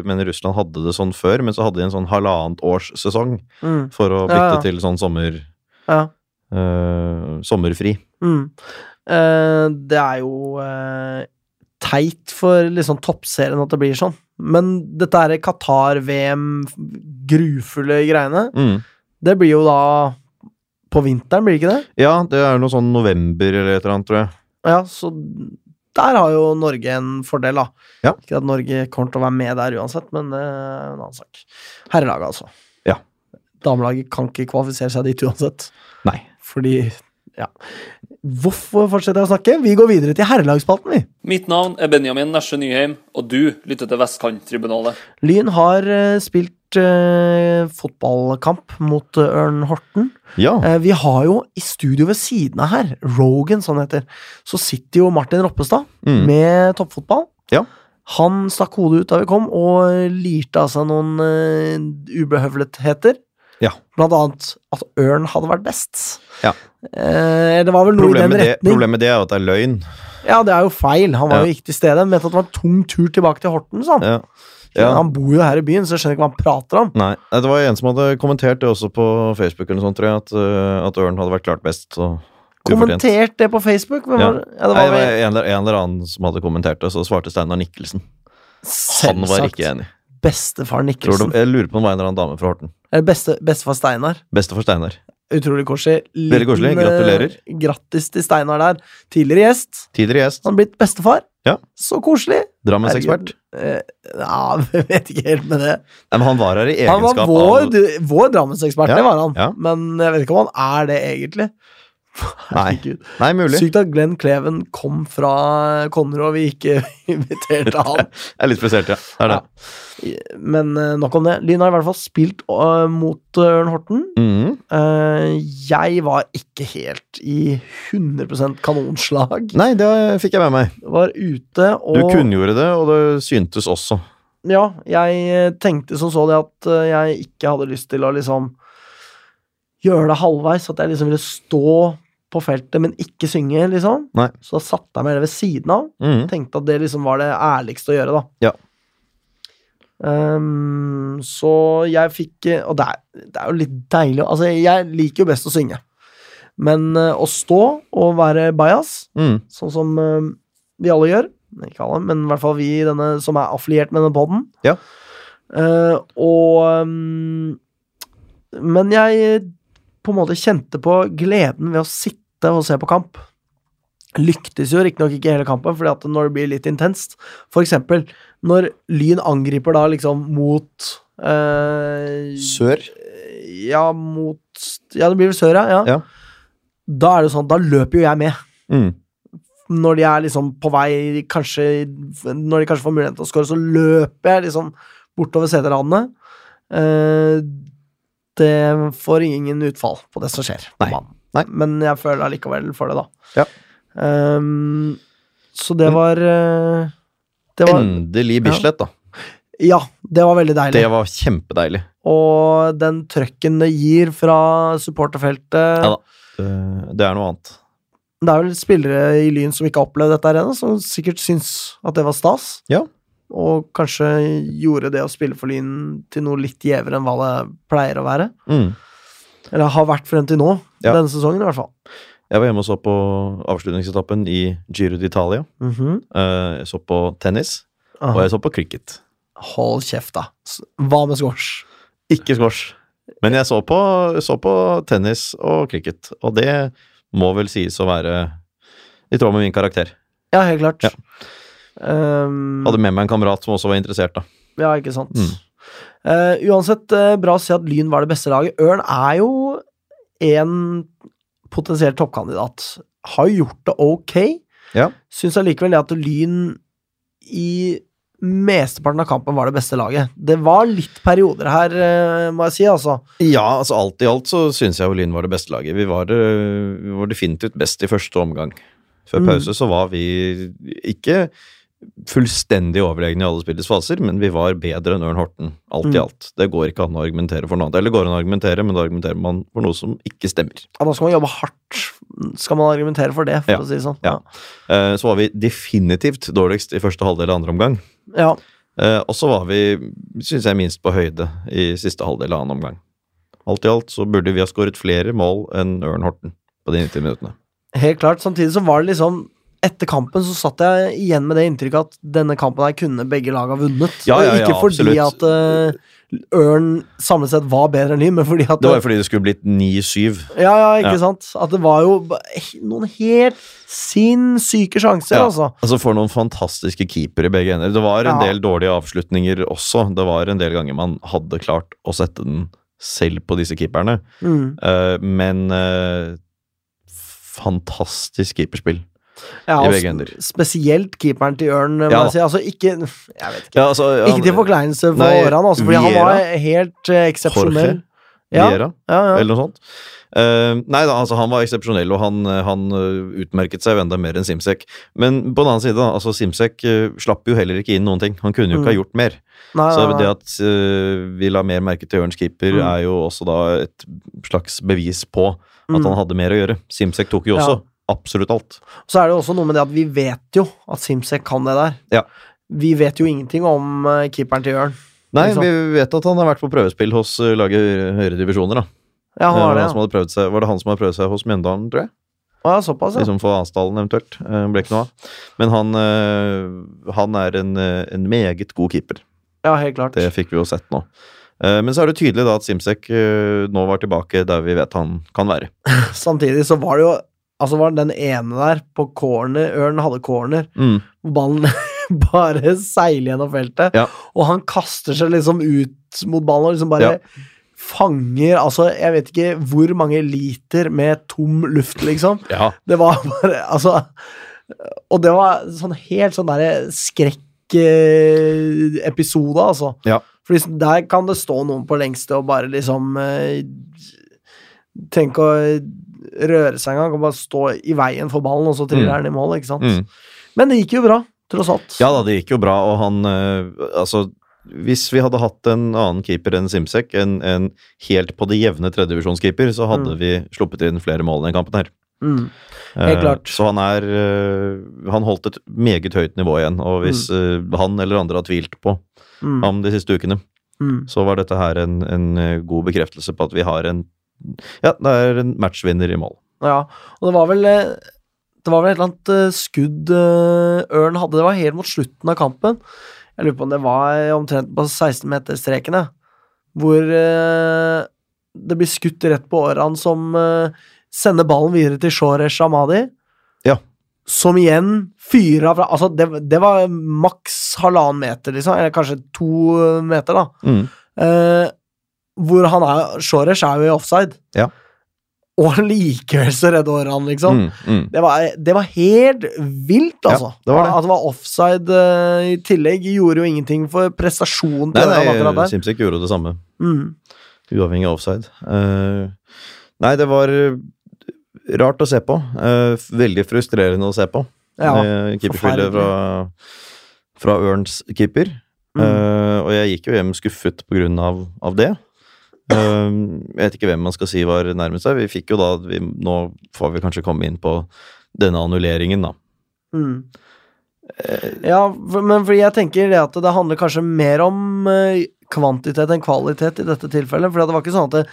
B: Men Russland hadde det sånn før, men så hadde de en sånn halvannet års sesong
A: Mm,
B: for å bytte
A: Ja, ja.
B: til sånn sommer,
A: ja.
B: eh, sommerfri.
A: Mm. Eh, det er jo eh, teit for liksom toppserien at det blir sånn. Men dette her Qatar-VM, grufulle greiene,
B: Mm.
A: det blir jo da på vinteren, blir det ikke det?
B: Ja, det er noe sånn november eller et eller annet, tror jeg.
A: Ja, så der har jo Norge en fordel, da.
B: Ja.
A: Ikke at Norge kommer til å være med der uansett, men det er en annen sak. Herrelaget, altså.
B: Ja.
A: Damelaget kan ikke kvalifisere seg dit uansett.
B: Nei.
A: Fordi Ja. Hvorfor fortsetter jeg å snakke? Vi går videre til herrelagsspalten, vi.
E: Mitt navn er Benjamin Nesje Nyheim, og du lytter til Vestkanttribunalet.
A: Lyn har eh, spilt eh, fotballkamp mot eh, Ørn Horten.
B: Ja.
A: Eh, vi har jo i studio ved siden av her, Rogan sånn heter, så sitter jo Martin Roppestad
B: Mm.
A: med toppfotball.
B: Ja.
A: Han stakk hodet ut da vi kom, og lirte av seg noen eh, ubehøvletheter.
B: Ja.
A: Blant annet at Ørn hadde vært best.
B: Ja.
A: Eh, det var vel noe i
B: Problemet med,
A: den
B: det,
A: retning.
B: problemet med det er jo at det er løgn.
A: Ja, det er jo feil. Han var
B: Ja.
A: jo ikke til stede. Han mente at det var en tung tur tilbake til Horten, sa han.
B: Ja. Ja.
A: Han bor jo her i byen, så jeg skjønner ikke hva han prater om.
B: Nei, Nei, det var en som hadde kommentert det også på Facebook, eller noe sånt, tror jeg, at, øh, at Ørn hadde vært klart best. Så ufortjent.
A: Kommentert det på Facebook? Hvem
B: Ja.
A: var, ja, det
B: Nei,
A: var
B: det var
A: vel
B: en, eller- en eller annen som hadde kommentert det, så svarte Steinar Nikkelsen. Han var
A: selvsagt
B: ikke enig.
A: bestefar
B: Tror du,
A: Nikkelsen.
B: jeg lurer på om det var en eller annen dame fra Horten.
A: Eller Eh, beste, bestefar Steinar.
B: Bestefar Steinar.
A: Utrolig koselig.
B: Veldig koselig.
A: Liten, eh,
B: Gratulerer.
A: Grattis til Steinar der. Tidligere gjest.
B: Tidligere gjest.
A: Han er blitt bestefar.
B: Ja.
A: Så koselig.
B: Drammensekspert.
A: Eh, ja, *laughs* vi vet ikke helt med det.
B: Nei, Men han var her i
A: Han
B: egenskap
A: var vår,
B: av
A: du- vår Drammensekspert,
B: Ja,
A: det var han.
B: ja.
A: Men jeg vet ikke om han er det, egentlig. *laughs*
B: Nei.
A: Herregud.
B: Nei, mulig.
A: Sykt at Glenn Kleven kom fra Konro og vi ikke *laughs* inviterte han.
B: *laughs* Jeg er litt spesielt, ja. Det er det.
A: Men eh, nok om det. Lyn har i hvert fall spilt eh, mot eh, Ørn Horten.
B: Mhm.
A: Eh, jeg var ikke helt i 100 kanonslag.
B: Nei, det fikk jeg med meg.
A: Var ute og
B: Du kunngjorde det, og det syntes også.
A: Ja, jeg eh, tenkte som så det at eh, jeg ikke hadde lyst til å liksom gjøre det halvveis. At jeg liksom ville stå på feltet, men ikke synge, liksom.
B: Nei.
A: Så da satte jeg meg heller ved siden av.
B: Mhm.
A: Tenkte at det liksom var det ærligste å gjøre, da.
B: Ja.
A: Ehm, så jeg fikk eh, Og det er, det er jo litt deilig å- Altså, jeg liker jo best å synge. Men eh, å stå og være bajas,
B: Mhm.
A: sånn som eh, vi alle gjør Ikke alle, men i hvert fall vi i denne, som er affiliert med denne poden.
B: Ja.
A: og ehm, Men jeg eh, på en måte kjente på gleden ved å sitte og se på kamp. Lyktes jo riktignok ikke hele kampen, fordi at når det blir litt intenst For eksempel når Lyn angriper da liksom mot eh,
B: Sør.
A: Ja, mot Ja, det blir vel sør, ja.
B: Ja.
A: Da er det sånn, da løper jo jeg med.
B: Mhm.
A: Når de er liksom på vei kanskje, Når de kanskje får muligheten til å score, så løper jeg liksom bortover seterradene. Eh, det får ingen utfall på det som skjer. på
B: Nei.
A: banen.
B: Nei.
A: Men jeg føler allikevel for det, da.
B: Ja.
A: Ehm, så det var eh, Det var
B: Endelig Bislett, da.
A: Ja, det var veldig deilig.
B: Det var kjempedeilig.
A: Og den trøkken det gir fra supporterfeltet
B: Ja da. Eh, Det er noe annet.
A: Det er vel spillere i Lyn som ikke har opplevd dette her ennå, som sikkert syns at det var stas.
B: Ja.
A: Og kanskje gjorde det å spille for Lyn til noe litt gjevere enn hva det pleier å være.
B: Mm.
A: Eller har vært frem til nå,
B: Ja.
A: denne sesongen i hvert fall.
B: Jeg var hjemme og så på avslutningsetappen i Giro d'Italia.
A: Mhm.
B: Eh, Jeg så på tennis,
A: Aha.
B: og jeg så på cricket.
A: Hold kjeft, da. S- Hva med squash?
B: Ikke squash. Men jeg så på, så på tennis og cricket, og det må vel sies å være i tråd med min karakter.
A: Ja, helt klart.
B: Ja.
A: Ehm,
B: Hadde med meg en kamerat som også var interessert, da.
A: Ja, ikke sant.
B: Mm.
A: Eh, uansett, eh, bra å si at Lyn var det beste laget. Ørn er jo en potensiell toppkandidat. Har jo gjort det ok.
B: Ja.
A: Syns allikevel det at Lyn i mesteparten av kampen var det beste laget. Det var litt perioder her, eh, må jeg si, altså.
B: Ja, altså alt i alt så syns jeg jo Lyn var det beste laget. Vi var, eh, vi var definitivt best i første omgang. Før
A: Mm.
B: pause så var vi ikke fullstendig overlegne i alle spillets faser, men vi var bedre enn Ørn Horten, alt i alt. Det går ikke an å argumentere for noe annet. Eller går an å argumentere, men da argumenterer man for noe som ikke stemmer.
A: Ja, da skal man jobbe hardt, skal man argumentere for det, for
B: Ja.
A: å si det sånn.
B: Ja. Eh, Så var vi definitivt dårligst i første halvdel av andre omgang.
A: Ja.
B: Eh, Og så var vi, syns jeg, minst på høyde i siste halvdel av annen omgang. Alt i alt så burde vi ha skåret flere mål enn Ørn Horten på de 90 minuttene.
A: Helt klart. Samtidig så var det liksom Etter kampen så satt jeg igjen med det inntrykket at denne kampen her kunne begge lag ha vunnet.
B: Ja,
A: Og
B: ja, ja,
A: ikke fordi
B: absolutt.
A: at eh, Ørn samlet sett var bedre enn Lyn, men fordi at
B: Det var jo fordi det skulle blitt 9-7.
A: Ja, ja, ikke
B: Ja.
A: sant? At det var jo ba- he- noen helt sinnssyke sjanser,
B: Ja.
A: altså.
B: Altså For noen fantastiske keepere i begge ender. Det var en
A: Ja.
B: del dårlige avslutninger også. Det var en del ganger man hadde klart å sette den selv på disse keeperne.
A: Mm.
B: Eh, men eh, fantastisk keeperspill.
A: Ja,
B: I
A: og
B: begge
A: s-
B: ender.
A: Spesielt keeperen til Ørn, må
B: Ja.
A: jeg si. Altså, ikke Jeg vet ikke.
B: Ja, altså, ja,
A: Ikke til forkleinelse for
B: Nei,
A: Åran, altså, fordi han
B: Viera.
A: var helt eh, eksepsjonell.
B: Jorge.
A: Ja,
B: Vieira,
A: ja, ja.
B: eller noe sånt. Eh, nei da, altså han var eksepsjonell, og han, eh, han eh, utmerket seg jo enda mer enn Simsek. Men på den annen side, da, altså Simsek eh, slapp jo heller ikke inn noen ting. Han
A: Mm.
B: kunne jo ikke ha gjort mer.
A: Nei,
B: Så
A: nei, nei.
B: det at eh, vi la mer merke til Ørns keeper,
A: Mm.
B: er jo også da et slags bevis på at
A: Mm.
B: han hadde mer å gjøre. Simsek tok jo
A: Ja.
B: også absolutt alt.
A: Så er det også noe med det at vi vet jo at Simsek kan det der.
B: Ja.
A: Vi vet jo ingenting om eh, keeperen til Jørn.
B: Nei,
A: Ikke sant?
B: vi vet at han har vært på prøvespill hos eh, laget i høyere- høyere divisjoner, da.
A: Ja, han
B: Eh,
A: har det.
B: han som
A: Ja.
B: hadde prøvd seg, var det han som hadde prøvd seg hos Mjøndalen, tror jeg?
A: Å, ja, såpass, ja.
B: Liksom for Asdalen, eventuelt. Eh, Ble ikke noe av. Men han, eh, han er en, eh, en meget god keeper.
A: ja helt klart.
B: Det fikk vi jo sett nå. Eh, Men så er det tydelig da at Simsek eh, nå var tilbake der vi vet han kan være.
A: *laughs* Samtidig så var det jo Altså var det den ene der på corner Ørn hadde corner,
B: Mm.
A: hvor ballen *laughs* bare seiler gjennom feltet,
B: Ja.
A: og han kaster seg liksom ut mot ballen og liksom bare
B: Ja.
A: fanger Altså, jeg vet ikke hvor mange liter med tom luft, liksom.
B: Ja,
A: Det var bare Altså Og det var sånn helt sånn derre skrekkepisode, altså.
B: Ja.
A: Fordi sånn, der kan det stå noen på lengste og bare liksom eh, Trenger ikke å røre seg engang, kan bare stå i veien for ballen, og så triller
B: Mm.
A: den i mål, ikke sant.
B: Mm.
A: Men det gikk jo bra, tross alt.
B: Ja da, det gikk jo bra, og han eh, Altså, hvis vi hadde hatt en annen keeper enn Simsek, en, en helt på det jevne tredjedivisjonskeeper, så hadde
A: Mm.
B: vi sluppet inn flere mål i den kampen her.
A: Mm.
B: Eh,
A: Helt klart.
B: Så han er eh, Han holdt et meget høyt nivå igjen, og hvis eh, han eller andre har tvilt på
A: Mm.
B: ham de siste ukene,
A: Mm.
B: så var dette her en, en eh, god bekreftelse på at vi har en Ja, det er en matchvinner i mål.
A: Ja, og det var vel eh, Det var vel et eller annet eh, skudd eh, Ørn hadde. Det var helt mot slutten av kampen. Jeg lurer på om det var eh, omtrent på 16-meterstreken, jeg. Hvor eh, det blir skutt rett på Åran, som eh, sender ballen videre til Shoresh Amadi.
B: Ja.
A: Som igjen fyrer av fra Altså, det, det var maks halvannen meter, liksom. Eller kanskje to eh, meter, da.
B: Mm.
A: Eh, hvor han er Shoresh er jo i offside.
B: Ja.
A: Og likevel så redder han, liksom.
B: Mm, mm.
A: Det, var, det var helt vilt,
B: Ja,
A: altså.
B: det var det.
A: At det var offside eh, i tillegg, gjorde jo ingenting for prestasjonen
B: Nei,
A: til Ørjan akkurat
B: nei,
A: der.
B: Simsek gjorde det samme.
A: Mm.
B: Uavhengig av offside. Eh, nei, det var eh, rart å se på. Eh, f- veldig frustrerende å se på.
A: Ja,
B: Eh, Keeperspillet fra, fra Ørns keeper.
A: Mm.
B: Eh, og jeg gikk jo hjem skuffet på grunn av, av det. Eh, jeg vet ikke hvem man skal si var nærmest seg. Vi fikk jo da vi, Nå får vi kanskje komme inn på denne annulleringen, da.
A: Mm.
B: Eh,
A: Ja, for, men fordi jeg tenker det at det handler kanskje mer om eh, kvantitet enn kvalitet i dette tilfellet. For det var ikke sånn at det,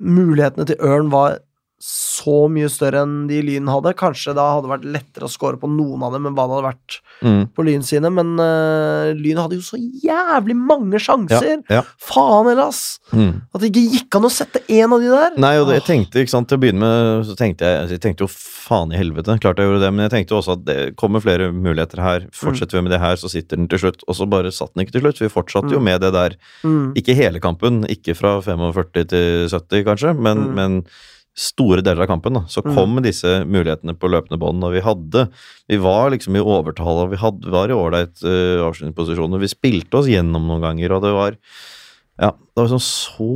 A: mulighetene til Ørn var så mye større enn de Lyn hadde. Kanskje da hadde det vært lettere å score på noen av dem enn hva det hadde vært
B: Mm.
A: på Lyn sine, men eh, Lyn hadde jo så jævlig mange
B: Ja,
A: sjanser!
B: ja.
A: Faen heller, ass!
B: Mm.
A: At det ikke gikk an å sette én av de der!
B: Nei, og det, jeg
A: Åh.
B: tenkte, ikke sant, til å begynne med så tenkte jeg, altså, jeg tenkte jo faen i helvete, klart jeg gjorde det, men jeg tenkte jo også at det kommer flere muligheter her, fortsetter vi med det her, så sitter den til slutt, og så bare satt den ikke til slutt, vi fortsatte jo med det der,
A: Mm.
B: ikke hele kampen, ikke fra 45 til 70 kanskje, men,
A: Mm.
B: men store deler av kampen da, så kom disse mulighetene på løpende bånd, og vi hadde, vi var liksom i eh, overtall, og vi hadde, var i ålreit uh, avslutningsposisjoner, vi spilte oss gjennom noen ganger, og det var Ja, det var sånn så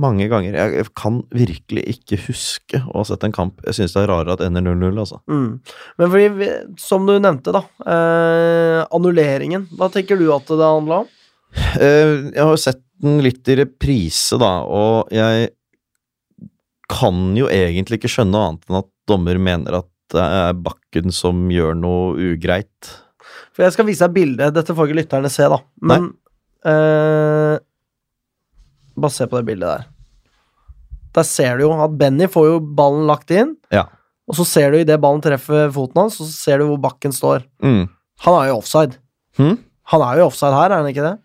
B: mange ganger. Jeg jeg kan virkelig ikke huske å ha sett en kamp. Jeg synes det er rarere at ender 0-0, altså.
A: Mm. Men fordi, vi- som du nevnte, da. Eh, annulleringen. Hva tenker du at det handla om?
B: Eh, Jeg har jo sett den litt i reprise, da, og jeg kan jo egentlig ikke skjønne annet enn at dommer mener at det er Bakken som gjør noe ugreit.
A: For jeg skal vise deg bildet. Dette får ikke lytterne se, da. Men eh, Bare se på det bildet der. Der ser du jo at Benny får jo ballen lagt inn,
B: Ja.
A: og så ser du idet ballen treffer foten hans, og så ser du hvor bakken står.
B: Mm.
A: Han er jo offside.
B: Hm?
A: Han er jo offside her, er han ikke det?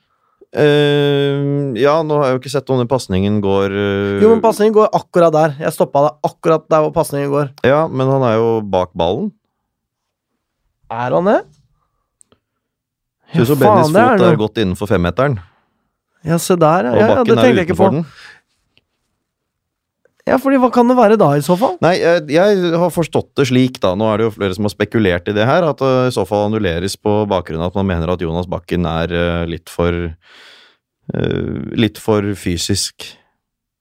B: Eh, ja, nå har jeg jo ikke sett om den pasningen går eh,
A: Jo, men pasningen går akkurat der. Jeg stoppa deg akkurat der hvor pasningen går.
B: Ja, men han er jo bak ballen.
A: Er han det? Ja,
B: Synes jo
A: faen,
B: Bennys
A: det er
B: fot
A: det
B: er
A: jo.
B: godt innenfor femmeteren,
A: Ja, se der, ja.
B: og
A: ja, ja det
B: Bakken er
A: tenkte jeg ikke på.
B: utenfor den.
A: Ja, fordi hva kan det være da, i så fall?
B: Nei, jeg, jeg har forstått det slik, da. Nå er det jo flere som har spekulert i det her, at det i så fall annulleres på bakgrunn av at man mener at Jonas Bakken er eh, litt for eh, Litt for fysisk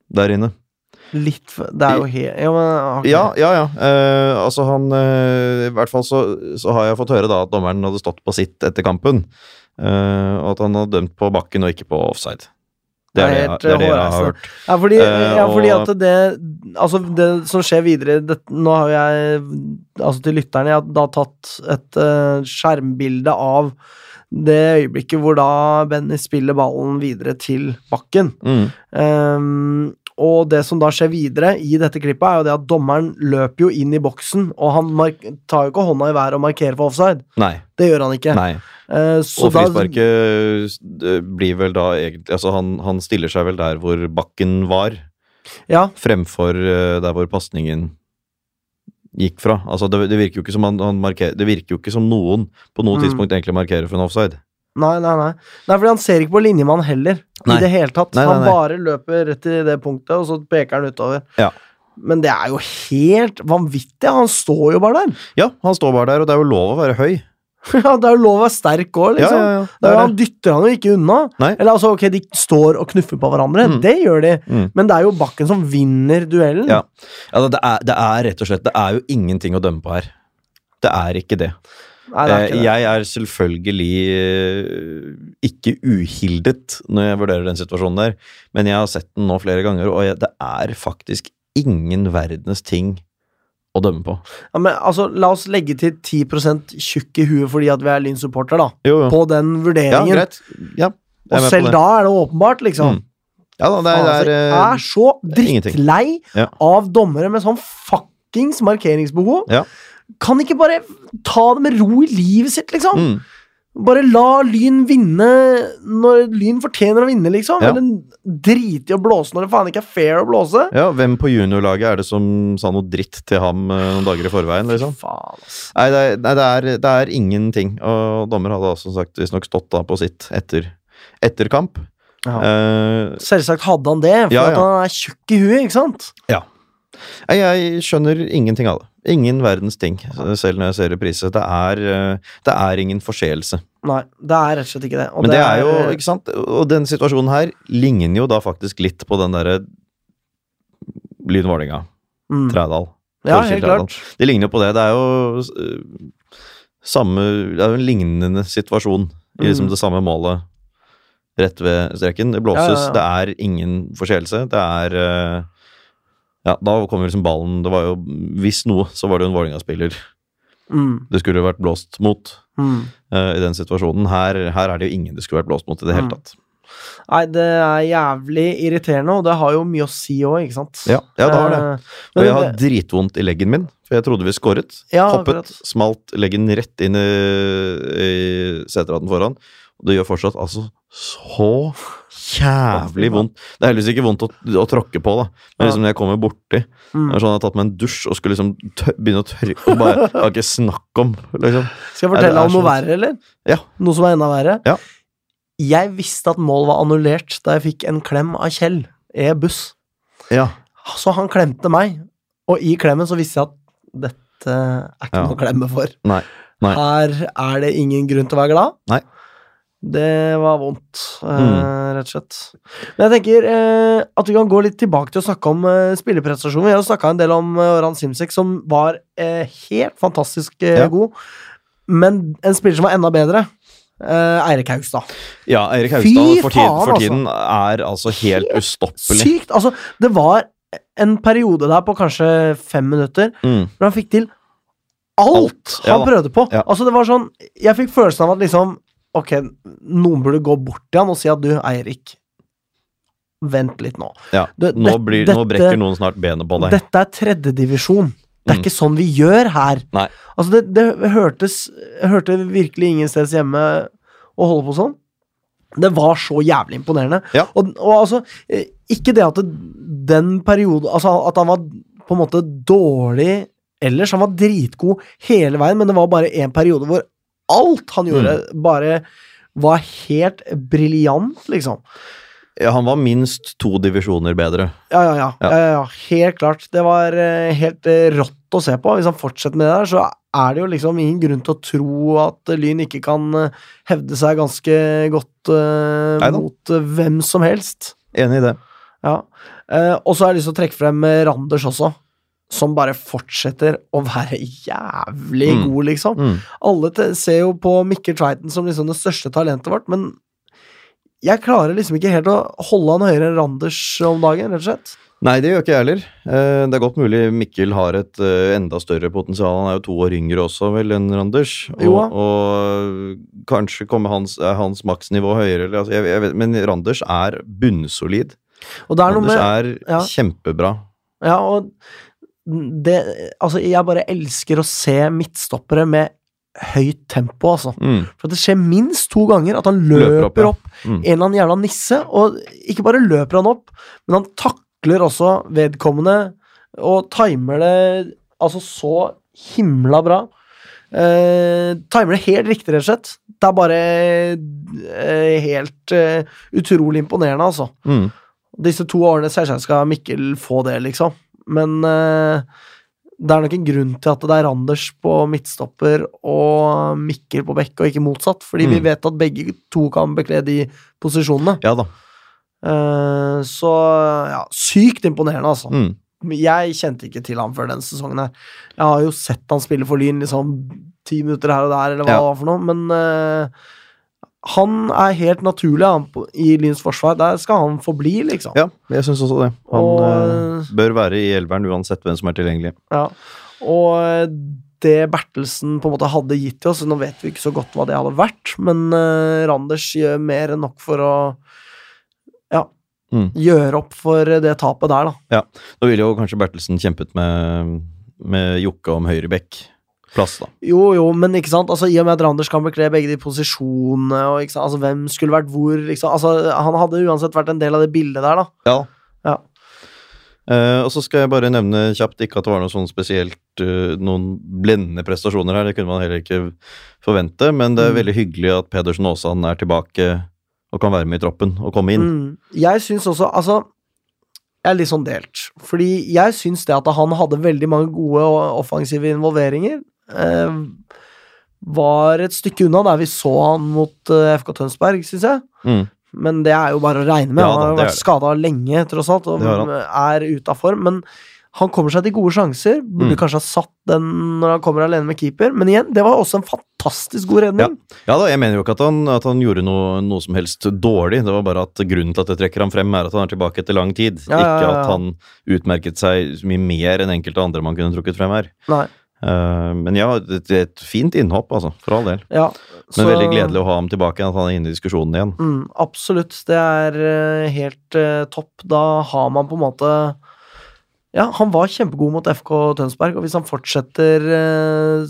B: der inne.
A: Litt for Det er jo helt ja, men, ok.
B: Ja, ja, ja. Eh, altså, han eh, I hvert fall så, så har jeg fått høre da at dommeren hadde stått på sitt etter kampen, eh, og at han hadde dømt på Bakken og ikke på offside. Det er eh, det, jeg- det, er det jeg har hørt.
A: Ja, fordi,
B: Eh,
A: ja, fordi
B: og-
A: at det Altså, det som skjer videre det, Nå har jeg, altså til lytterne, jeg har da tatt et eh, skjermbilde av det øyeblikket hvor da Benny spiller ballen videre til bakken.
B: Mm.
A: Ehm, og det som da skjer videre i dette klippet, er jo det at dommeren løper jo inn i boksen, og han mark tar jo ikke hånda i været og markerer for offside.
B: Nei.
A: Det gjør han ikke.
B: nei.
A: Eh, så
B: Og
A: da-
B: frisparket eh, blir vel da egentlig Altså, han, han stiller seg vel der hvor bakken var,
A: Ja,
B: fremfor eh, der hvor pasningen gikk fra. Altså, det, det virker jo ikke som han, han markerer Det virker jo ikke som noen på noe
A: Mm.
B: tidspunkt egentlig markerer for en offside.
A: Nei, nei, nei. Nei, fordi han ser ikke på linjemannen heller.
B: Nei.
A: I det hele tatt.
B: Nei, nei,
A: Han
B: nei.
A: bare løper rett til det punktet, og så peker han utover.
B: Ja.
A: Men det er jo helt vanvittig! Han står jo bare der! *laughs*
B: Ja, han står bare der, og det er jo lov å være høy.
A: Ja, det er jo lov å være sterk òg,
B: Ja,
A: liksom.
B: ja, ja.
A: Det
B: Det
A: er jo-
B: er
A: han
B: det.
A: dytter han jo ikke unna.
B: Nei.
A: Eller altså, ok, de står og knuffer på hverandre.
B: Mm.
A: Det gjør de.
B: Mm.
A: Men det er jo Bakken som vinner duellen.
B: Ja. Ja, Altså, det, er, det er rett og slett Det er jo ingenting å dømme på her. Det er ikke det.
A: Nei, det er
B: Eh,
A: ikke det.
B: Jeg er selvfølgelig eh, ikke uhildet når jeg vurderer den situasjonen der, men jeg har sett den nå flere ganger, og jeg, det er faktisk ingen verdens ting å dømme på.
A: Ja, men altså, la oss legge til 10 tjukk i huet fordi at vi er Lyn-supporter, da.
B: Jo, jo.
A: På den
B: Ja,
A: vurderingen.
B: greit. Ja, jeg er
A: og
B: med
A: selv
B: på det.
A: da er det åpenbart, liksom.
B: Mm. Ja da, det
A: Faen,
B: er,
A: altså,
B: det
A: jeg
B: er
A: er så
B: ingenting.
A: drittlei
B: Ja.
A: av dommere med sånn fuckings markeringsbehov.
B: Ja.
A: Kan ikke bare ta det med ro i livet sitt,
B: eh,
A: liksom?
B: mm.
A: Bare la Lyn vinne når Lyn fortjener å vinne, liksom.
B: Ja.
A: Eller drite i å blåse når det faen ikke er fair å blåse.
B: Ja, hvem på juniorlaget er det som sa noe dritt til ham eh, noen dager i forveien, liksom?
A: Faen, ass.
B: Nei, det er, nei, det er, det er ingenting. Og dommer hadde altså som sagt visstnok stått da på sitt etter, etter kamp.
A: Ja.
B: Eh,
A: Selvsagt hadde han det, for
B: Ja,
A: at
B: ja.
A: han er tjukk i huet, ikke sant?
B: Nei, Jeg skjønner ingenting av det. Ingen verdens ting, selv når jeg ser reprise. Det er, eh, det er ingen forseelse.
A: Nei, det er mm. rett og slett ikke det. Og
B: Men det, er jo, ikke sant Og den situasjonen her ligner jo da faktisk litt på den derre Lyn Vålerenga,
A: mm.
B: Trædal.
A: Ja,
B: Torkjell
A: helt
B: Trædal.
A: klart.
B: Det ligner jo på det. Det er jo eh, samme Det er jo en lignende situasjon i liksom
A: Mm.
B: det samme målet rett ved streken. Det blåses,
A: Ja, ja, ja.
B: det er ingen forseelse. Det er eh, Ja, da kommer liksom ballen Det var jo Hvis noe, så var det jo en Vålerenga-spiller altså.
A: Mm.
B: det skulle vært blåst mot
A: Mm.
B: eh, i den situasjonen. Her, her er det jo ingen det skulle vært blåst mot i det hele
A: Mm.
B: tatt.
A: Nei, det er jævlig irriterende, og det har jo mye å si òg, ikke sant?
B: Ja, ja, det har det.
A: Eh,
B: Og
A: Men
B: jeg har
A: det,
B: dritvondt i leggen min, for jeg trodde vi skåret.
A: Ja,
B: Hoppet,
A: akkurat.
B: smalt leggen rett inn i, i seteraden foran. Og det gjør fortsatt altså så jævlig vondt. Det er heldigvis ikke vondt å, å tråkke på, da. Men liksom når jeg kommer borti
A: Mm.
B: det er sånn Jeg har tatt meg en dusj og skulle liksom tø begynne å tørke og bare Det er ikke snakk om, liksom.
A: skal jeg
B: Nei, det
A: fortelle
B: er
A: deg om noe
B: sånn-
A: verre, eller?
B: Ja.
A: Noe som er enda verre?
B: Ja.
A: Jeg visste at mål var annullert da jeg fikk en klem av Kjell i buss.
B: Ja.
A: Så han klemte meg, og i klemmen så visste jeg at dette er ikke
B: Ja.
A: noe å klemme for.
B: Nei. Nei.
A: Her er det ingen grunn til å være glad.
B: Nei. Mm.
A: Det var vondt, eh, rett og slett. Men jeg tenker eh, at vi kan gå litt tilbake til å snakke om eh, spillerprestasjoner. Vi har jo snakka en del om eh, Oran Simsek, som var eh, helt fantastisk eh,
B: Ja.
A: god. Men en spiller som var enda bedre, eh, Eirik Haugstad.
B: Ja, Eirik
A: Fy
B: Haugstad for tiden,
A: faen,
B: for
A: altså.
B: tiden er altså helt
A: Helt
B: ustoppelig.
A: Sykt! Altså, det var en periode der på kanskje fem minutter
B: Mm.
A: hvor han fikk til alt,
B: Alt, ja
A: han
B: da.
A: prøvde på.
B: Ja.
A: Altså, det var sånn Jeg fikk følelsen av at liksom Ok, noen burde gå bort til han og si at du, Eirik Vent litt nå.
B: Ja.
A: Det-
B: Nå,
A: det-
B: blir, nå
A: dette-
B: brekker noen snart benet på deg.
A: Dette er tredjedivisjon. Det er
B: Mm.
A: ikke sånn vi gjør her.
B: Nei.
A: Altså, det, det hørtes Jeg hørte virkelig ingensteds hjemme å holde på sånn. Det var så jævlig imponerende.
B: Ja.
A: Og, og altså, eh, ikke det at det, den perioden Altså at han var på en måte dårlig ellers. Han var dritgod hele veien, men det var bare en periode hvor alt han gjorde,
B: Mm.
A: bare var helt briljant, liksom.
B: Ja, han var minst to divisjoner bedre.
A: Ja, ja, ja. ja.
B: Ja.
A: ja, ja. Helt klart. Det var eh, helt eh, rått å se på. Hvis han fortsetter med det der, så er det jo liksom ingen grunn til å tro at eh, Lyn ikke kan eh, hevde seg ganske godt eh,
B: Neida.
A: mot eh, hvem som helst.
B: Enig i det.
A: Ja. Eh, og så har jeg lyst til å trekke frem eh, Randers også, som bare fortsetter å være jævlig
B: Mm.
A: god, liksom.
B: Mm.
A: Alle te- ser jo på Mikkel Tveiten som liksom det største talentet vårt, men jeg klarer liksom ikke helt å holde han høyere enn Randers om dagen, rett og slett.
B: Nei, det gjør ikke jeg heller. Eh, Det er godt mulig Mikkel har et eh, enda større potensial. Han er jo to år yngre også, vel, enn Randers. Og,
A: Jo.
B: og kanskje kommer hans, er hans maksnivå høyere, eller, altså, jeg, jeg vet, men Randers er bunnsolid.
A: Og det er noe
B: Randers
A: med
B: er
A: ja.
B: kjempebra.
A: Ja, og det Altså, jeg bare elsker å se midtstoppere med høyt tempo, altså.
B: Mm.
A: For det skjer minst to ganger at han løper,
B: Løper opp, ja.
A: opp
B: Mm.
A: en eller annen jævla nisse, og ikke bare løper han opp, men han takler også vedkommende og timer det altså så himla bra. Eh, timer det helt riktig, rett og slett. Det er bare eh, helt eh, utrolig imponerende, altså.
B: Mm.
A: Disse to årene selvsagt skal Mikkel få det, liksom. Men eh, det er nok en grunn til at det er Randers på midtstopper og Mikkel på bekk, og ikke motsatt. Fordi vi
B: Mm.
A: vet at begge to kan bekle de posisjonene.
B: Ja da.
A: Eh, så ja, sykt imponerende, altså.
B: Mm.
A: Jeg kjente ikke til ham før den sesongen her. Jeg har jo sett han spille for Lyn liksom ti minutter her og der, eller hva
B: Ja.
A: det var for noe, men eh, han er helt naturlig han, på- i Lyns forsvar. Der skal han forbli, liksom.
B: Ja, jeg syns også det. Han
A: Og-
B: eh, bør være i elveren uansett hvem som er tilgjengelig.
A: Ja. Og eh, det Bertelsen på en måte hadde gitt til oss Nå vet vi ikke så godt hva det hadde vært, men eh, Randers gjør mer enn nok for å ja,
B: Mm.
A: gjøre opp for det tapet der, da.
B: Ja. Nå ville jo kanskje Bertelsen kjempet med, med Jokke om høyrebekk. Plass, da.
A: Jo, jo, men ikke sant, altså i og med at Randers kan bekle begge de posisjonene, og ikke sant, altså hvem skulle vært hvor, liksom Altså, han hadde uansett vært en del av det bildet der, da.
B: Ja.
A: Ja.
B: Eh, og så skal jeg bare nevne kjapt, ikke at det var noe sånn spesielt eh, noen blendende prestasjoner her, det kunne man heller ikke forvente, men det er
A: Mm.
B: veldig hyggelig at Pedersen Aasan er tilbake og kan være med i troppen og komme inn.
A: Mm. Jeg syns også Altså, jeg er litt sånn delt. Fordi jeg syns det at han hadde veldig mange gode og offensive involveringer, eh, var et stykke unna der vi så han mot eh, FK Tønsberg, syns jeg.
B: Mm.
A: Men det er jo bare å regne med.
B: Ja da,
A: han har jo
B: det er
A: vært
B: det.
A: skada lenge, tross alt, og
B: Det har
A: er ute av form. Men han kommer seg til gode sjanser. Burde
B: Mm.
A: kanskje ha satt den når han kommer alene med keeper, men igjen, det var også en fantastisk god redning.
B: Ja da, jeg mener jo ikke at han, at han gjorde noe, noe som helst dårlig, det var bare at grunnen til at jeg trekker ham frem, er at han er tilbake etter lang tid.
A: Ja, ja,
B: Ikke
A: ja,
B: at
A: ja.
B: han utmerket seg så mye mer enn enkelte andre man kunne trukket frem her.
A: Nei,
B: Eh, men ja, det det er et fint innhopp, altså, for all del.
A: ja,
B: Men veldig gledelig å ha ham tilbake, at han er inne i diskusjonen igjen.
A: Mm, absolutt. Det er eh, helt eh, topp. Da har man på en måte Ja, han var kjempegod mot FK Tønsberg, og hvis han fortsetter eh,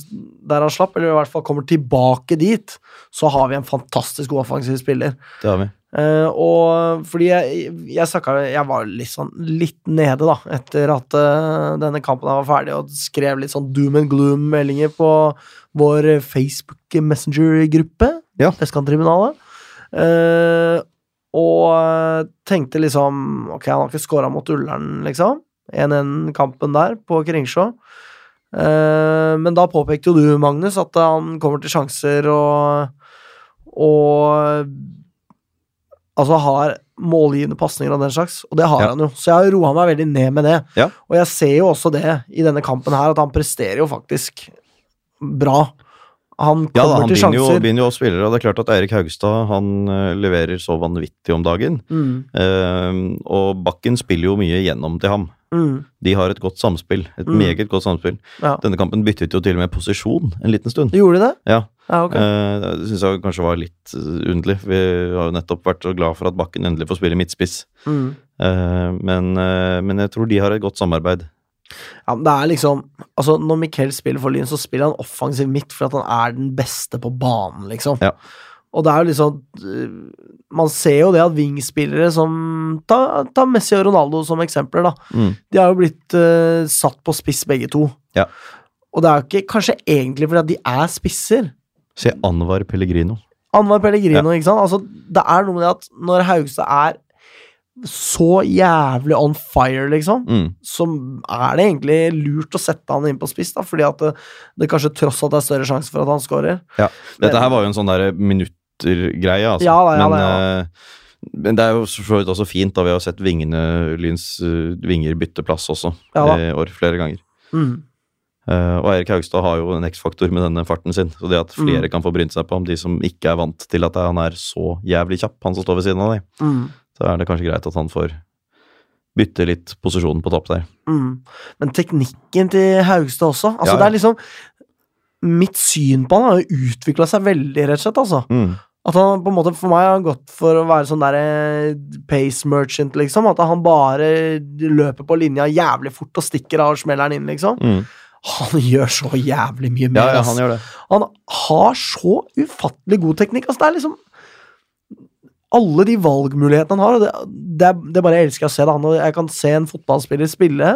A: der han slapp, eller i hvert fall kommer tilbake dit, så har vi en fantastisk god offensiv spiller.
B: Det har vi.
A: Eh, og fordi jeg, jeg snakka Jeg var litt sånn litt nede, da, etter at eh, denne kampen her var ferdig, og skrev litt sånn doom and gloom-meldinger på vår Facebook Messenger-gruppe,
B: Ja.
A: Vestkanttribunalet. Eh, og eh, tenkte liksom Ok, han har ikke scora mot Ullern, liksom. 1-1-kampen der på Kringsjå. Eh, men da påpekte jo du, Magnus, at han kommer til sjanser og og altså har målgivende pasninger og den slags, og det har
B: Ja.
A: han jo. Så jeg har roa meg veldig ned med det.
B: Ja.
A: Og jeg ser jo også det i denne kampen her, at han presterer jo faktisk bra. Han
B: Ja,
A: kommer
B: da, han
A: til
B: binder jo,
A: sjanser.
B: binder jo opp spillere, og det er klart at Eirik Haugstad han eh, leverer så vanvittig om dagen.
A: Mm,
B: Eh, og Bakken spiller jo mye gjennom til ham.
A: mm,
B: De har et godt samspill. Et
A: Mm.
B: meget godt samspill.
A: ja.
B: Denne kampen byttet jo til og med posisjon en liten stund.
A: Gjorde de det?
B: Ja,
A: Ja, ok.
B: eh, Det syns jeg kanskje var litt eh, underlig. Vi har jo nettopp vært så glad for at Bakken endelig får spille midtspiss.
A: Mm.
B: Eh, Men, eh, men jeg tror de har et godt samarbeid.
A: Ja, men det er liksom Altså, når Miquel spiller for Lyn, så spiller han offensiv midt for at han er den beste på banen, liksom.
B: Ja.
A: Og det er jo liksom øh, Man ser jo det at wingspillere som Ta, ta Messi og Ronaldo som eksempler, da.
B: Mm.
A: De har jo blitt øh, satt på spiss, begge to.
B: Ja.
A: Og det er jo ikke kanskje egentlig fordi at de er spisser.
B: Se Anwar Pellegrino.
A: Anwar Pellegrino, ikke sant? Altså, det er noe med det at når Haugstad er så jævlig on fire, liksom,
B: Mm.
A: så er det egentlig lurt å sette han inn på spiss, da, fordi at det, det kanskje tross alt er større sjanse for at han scorer.
B: Ja. Dette her var jo en sånn derre minuttergreie, altså.
A: Ja, da, ja,
B: men,
A: da,
B: eh, men det er jo så så vidt også fint, da vi har sett vingene, Lyns eh, vinger bytte plass også
A: Ja da.
B: i år flere ganger.
A: Mm.
B: Eh, og Eirik Haugstad har jo en X-faktor med denne farten sin. Så det at
A: Mm.
B: flere kan få brynt seg på om de som ikke er vant til at han er så jævlig kjapp, han som står ved siden av deg,
A: Mm.
B: så er det kanskje greit at han får bytte litt posisjon på topp der.
A: Mm. Men teknikken til Haugstad også altså
B: Ja, ja.
A: det er liksom Mitt syn på han har jo utvikla seg veldig, rett og slett. altså
B: Mm.
A: At han på en måte For meg har han gått for å være sånn derre pace merchant, liksom. At han bare løper på linja jævlig fort og stikker av og smeller den inn, liksom.
B: Mm.
A: Han gjør så jævlig mye mer.
B: Ja, ja,
A: ass.
B: han gjør det.
A: Han har så ufattelig god teknikk. Altså, det er liksom alle de valgmulighetene han har, og det, det, er- det bare jeg elsker å se. Da. Når jeg kan se en fotballspiller spille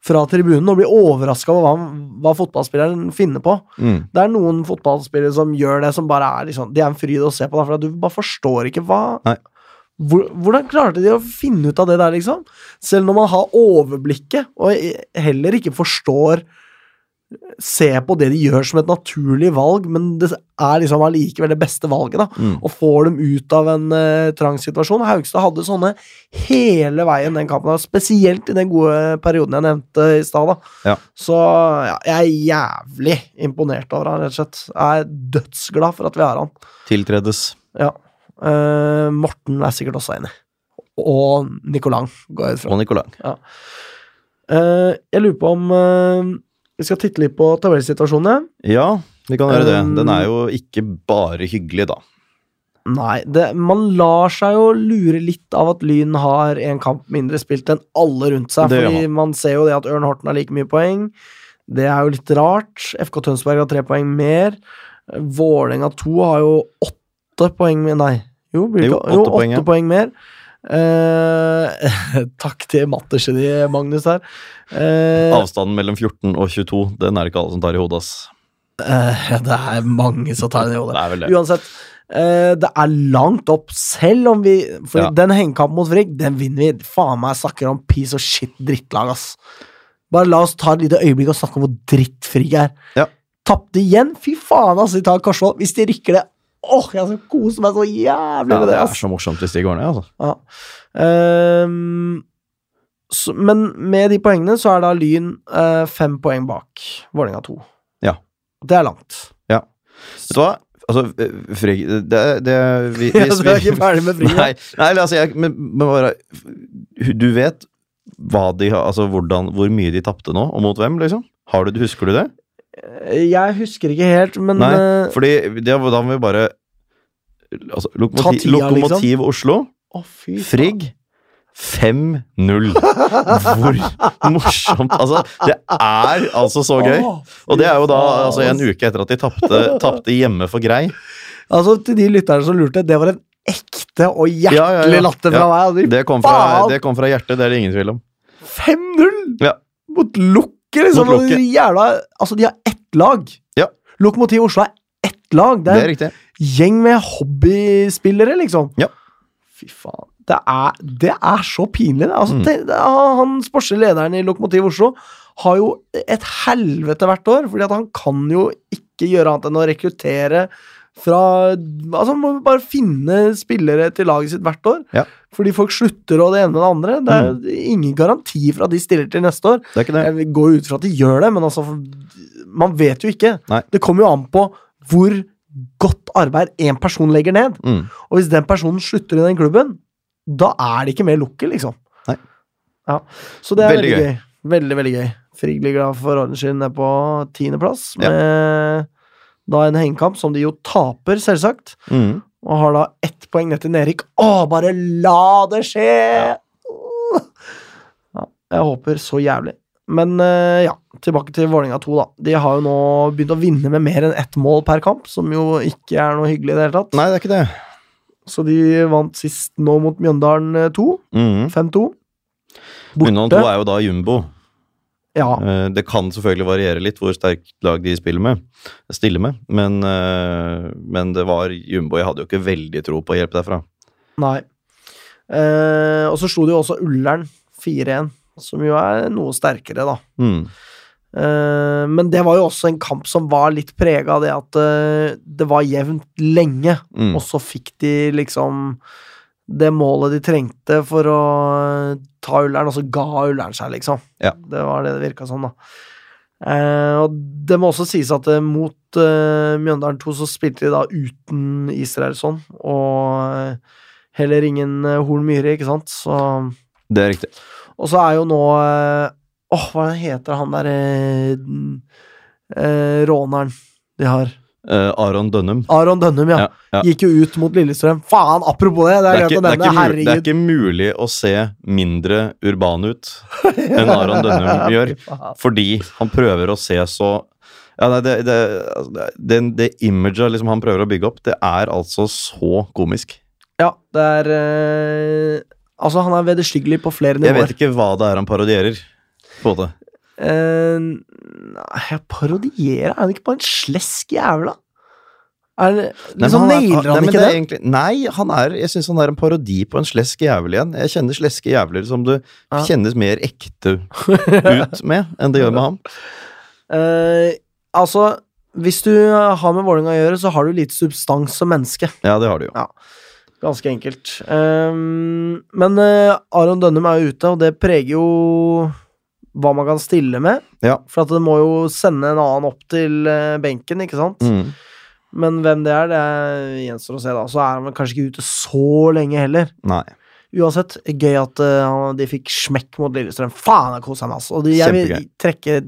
A: fra tribunen og bli overraska over hva, han- hva fotballspilleren finner på.
B: Mm.
A: Det er noen fotballspillere som gjør det, som bare er liksom, de er en fryd å se på. Da, for at du bare forstår ikke hva
B: Nei.
A: hvor, Hvordan klarte de å finne ut av det der, liksom? Selv når man har overblikket, og heller ikke forstår se på det de gjør som et naturlig valg, men det er liksom allikevel det beste valget, da.
B: Mm.
A: Og får dem ut av en eh, trang situasjon. Haugstad hadde sånne hele veien den kampen, her, spesielt i den gode perioden jeg nevnte i stad, da.
B: Ja.
A: Så ja, jeg er jævlig imponert over han, rett og slett. Jeg er dødsglad for at vi har han.
B: Tiltredes.
A: Ja. Eh, Morten er sikkert også enig. Og Nicolang, går jeg ut fra.
B: Og Nicolai.
A: Eh, jeg lurer på om eh, vi skal titte litt på tabellsituasjonen, ja.
B: Ja, vi kan gjøre det.
A: Um,
B: Den er jo ikke bare hyggelig, da.
A: Nei, det, man lar seg jo lure litt av at Lyn har en kamp mindre spilt enn alle rundt seg.
B: Det gjør
A: fordi man ser jo det at Ørn Horten har like mye poeng. Det er jo litt rart. FK Tønsberg har tre poeng mer. Vålerenga 2 har jo åtte poeng mer Nei, jo, blir det
B: Jo,
A: ikke- jo,
B: åtte poeng, ja.
A: åtte poeng mer. Eh, *laughs* takk til mattegeniet Magnus her. Eh,
B: Avstanden mellom 14 og 22, den er det ikke alle som tar i hodet, ass.
A: eh, *laughs* det er mange som tar den i hodet.
B: Det er vel det.
A: Uansett, eh, det er langt opp, selv om vi For
B: Ja.
A: den hengekampen mot Frigg, den vinner vi. Faen meg snakker om piece of shit drittlag, ass. Bare la oss ta et lite øyeblikk og snakke om hvor dritt Frigg er.
B: Ja.
A: Tapte igjen. Fy faen, ass, de tar Korsvoll. Hvis de rykker det Åh, jeg skal kose meg så jævlig
B: Ja,
A: med
B: det
A: det,
B: er
A: ass.
B: så morsomt hvis de går ned,
A: *laughs*
B: altså.
A: Ja. Ehm, så, men med de poengene så er da Lyn eh, fem poeng bak Vålerenga 2.
B: Ja.
A: Det er langt.
B: Ja. Vet du hva? Altså, eh, Frigg Det, det vi,
A: *laughs*
B: vi,
A: Ja, så vi er ikke ferdig med Frigg, da.
B: Nei, nei altså, jeg, men, men bare Du vet hva de har Altså hvordan, hvor mye de tapte nå, og mot hvem, liksom? Har du, husker du det?
A: Jeg husker ikke helt, men
B: Nei,
A: eh,
B: fordi det, da må vi bare Altså,
A: Ta tida,
B: Lokomotiv,
A: liksom.
B: lokomotiv Oslo,
A: Å, fy faen.
B: Frigg 5-0.
A: *laughs*
B: Hvor morsomt! Altså, det er altså så gøy.
A: Å, fy
B: Og det er jo da
A: faen.
B: altså, en uke etter at de
A: *laughs*
B: tapte tapte hjemme for grei.
A: Altså, til de lytterne som lurte, det var en ekte og hjertelig
B: Ja, ja, ja.
A: latter fra
B: Ja,
A: meg. og de-
B: Det kom fra,
A: Faen!
B: det kom fra hjertet, det er det ingen tvil om.
A: 5-0
B: Ja.
A: mot Lukke, liksom!
B: Mot
A: og
B: Lukke.
A: de Jævla, altså, de har ett lag.
B: Ja.
A: Lokomotiv Oslo er ett lag. Det
B: Det
A: er,
B: er riktig.
A: en gjeng med hobbyspillere, liksom.
B: Ja.
A: Fy faen. Det er, det er så pinlig, det. Altså,
B: Mm.
A: det, det han han sportslige lederen i Lokomotiv Oslo har jo et helvete hvert år, fordi at han kan jo ikke gjøre annet enn å rekruttere fra Altså, må vi bare finne spillere til laget sitt hvert år.
B: Ja. Mm.
A: Fordi folk slutter og det ene med det andre. Det er ingen garanti for at de stiller til neste år.
B: Det er ikke det.
A: Jeg går jo ut fra at de gjør det, men altså Man vet jo ikke.
B: Nei.
A: Det kommer jo an på hvor godt arbeid én person legger ned.
B: Mm.
A: Og hvis den personen slutter i den klubben, da er det ikke mer lukket, liksom.
B: Nei.
A: Ja. Så det er
B: Veldig
A: veldig, gøy. Veldig, veldig gøy. Friggliga for ordens skyld ned på tiendeplass,
B: Ja.
A: med da en hengekamp som de jo taper, selvsagt.
B: Mm.
A: Og har da ett poeng ned til nedrykk. Å, bare la det skje! Åh. Ja, jeg håper så jævlig. Men eh, ja, tilbake til Vålerenga 2, da. De har jo nå begynt å vinne med mer enn ett mål per kamp, som jo ikke er noe hyggelig i det hele tatt.
B: Nei, det er ikke det.
A: Så de vant sist nå mot Mjøndalen eh, 2.
B: Mm.
A: 5-2.
B: Unnan to er jo da jumbo.
A: Ja.
B: Eh, Det kan selvfølgelig variere litt hvor sterkt lag de spiller med, stiller med, men, eh, men det var jumbo. Jeg hadde jo ikke veldig tro på hjelp derfra.
A: Nei. Eh, og så slo de jo også Ullern 4-1, som jo er noe sterkere, da.
B: Mm.
A: Eh, men det var jo også en kamp som var litt prega av det at eh, det var jevnt lenge,
B: Mm.
A: og så fikk de liksom det målet de trengte for å eh, ta Ullern, og så ga Ullern seg, liksom.
B: Ja.
A: Det var det det virka som, da. Eh, og det må også sies at eh, mot eh, Mjøndalen 2 så spilte de da uten Israelsson, og eh, heller ingen eh, Horn Myhre, ikke sant, så
B: Det er riktig.
A: og så er jo nå eh, Åh, hva heter han der eh, den, eh, råneren de har?
B: Eh, Aron Dønnum.
A: Aron Dønnum, ja.
B: Ja, ja.
A: Gikk jo ut mot Lillestrøm. Faen, apropos det! Det er,
B: Det er,
A: greit
B: ikke,
A: å
B: det,
A: nevne.
B: er ikke mulig, det er
A: Herregud.
B: ikke mulig å se mindre urban ut enn Aron
A: *laughs*
B: Dønnum gjør, fordi han prøver å se så ja, nei, det, det, altså, det, det- det imaget liksom han prøver å bygge opp, det er altså så komisk.
A: Ja, det er eh, Altså, han er vederstyggelig på flere
B: Jeg vet
A: nivåer.
B: ikke hva det er han parodierer. På det.
A: Eh, nei, jeg parodierer Er han ikke bare en slesk jævla? Er, det-
B: Nei,
A: liksom,
B: men
A: nailer
B: nei,
A: han
B: men
A: ikke
B: det
A: det?
B: er egentlig- Nei, han er, jeg syns han er en parodi på en slesk jævel igjen. Jeg kjenner sleske jævler som du
A: Ja.
B: kjennes mer
A: *laughs*
B: ekte ut med enn det gjør med ham.
A: Eh, altså, hvis du har med Vålerenga å gjøre, så har du lite substans som menneske.
B: Ja, det har du jo.
A: Ganske enkelt. Ehm, men eh, Aron Dønnum er jo ute, og det preger jo hva man kan stille med.
B: Ja.
A: For at det må jo sende en annen opp til eh, benken, ikke sant?
B: Mm.
A: Men hvem det er, det er- gjenstår å se, da. Så er han vel kanskje ikke ute så lenge heller.
B: Nei.
A: Uansett, gøy at eh, han- de fikk smekk mot Lillestrøm. Faen, jeg koser meg, altså. Og de, jeg vil
B: Kjempegøy.
A: trekke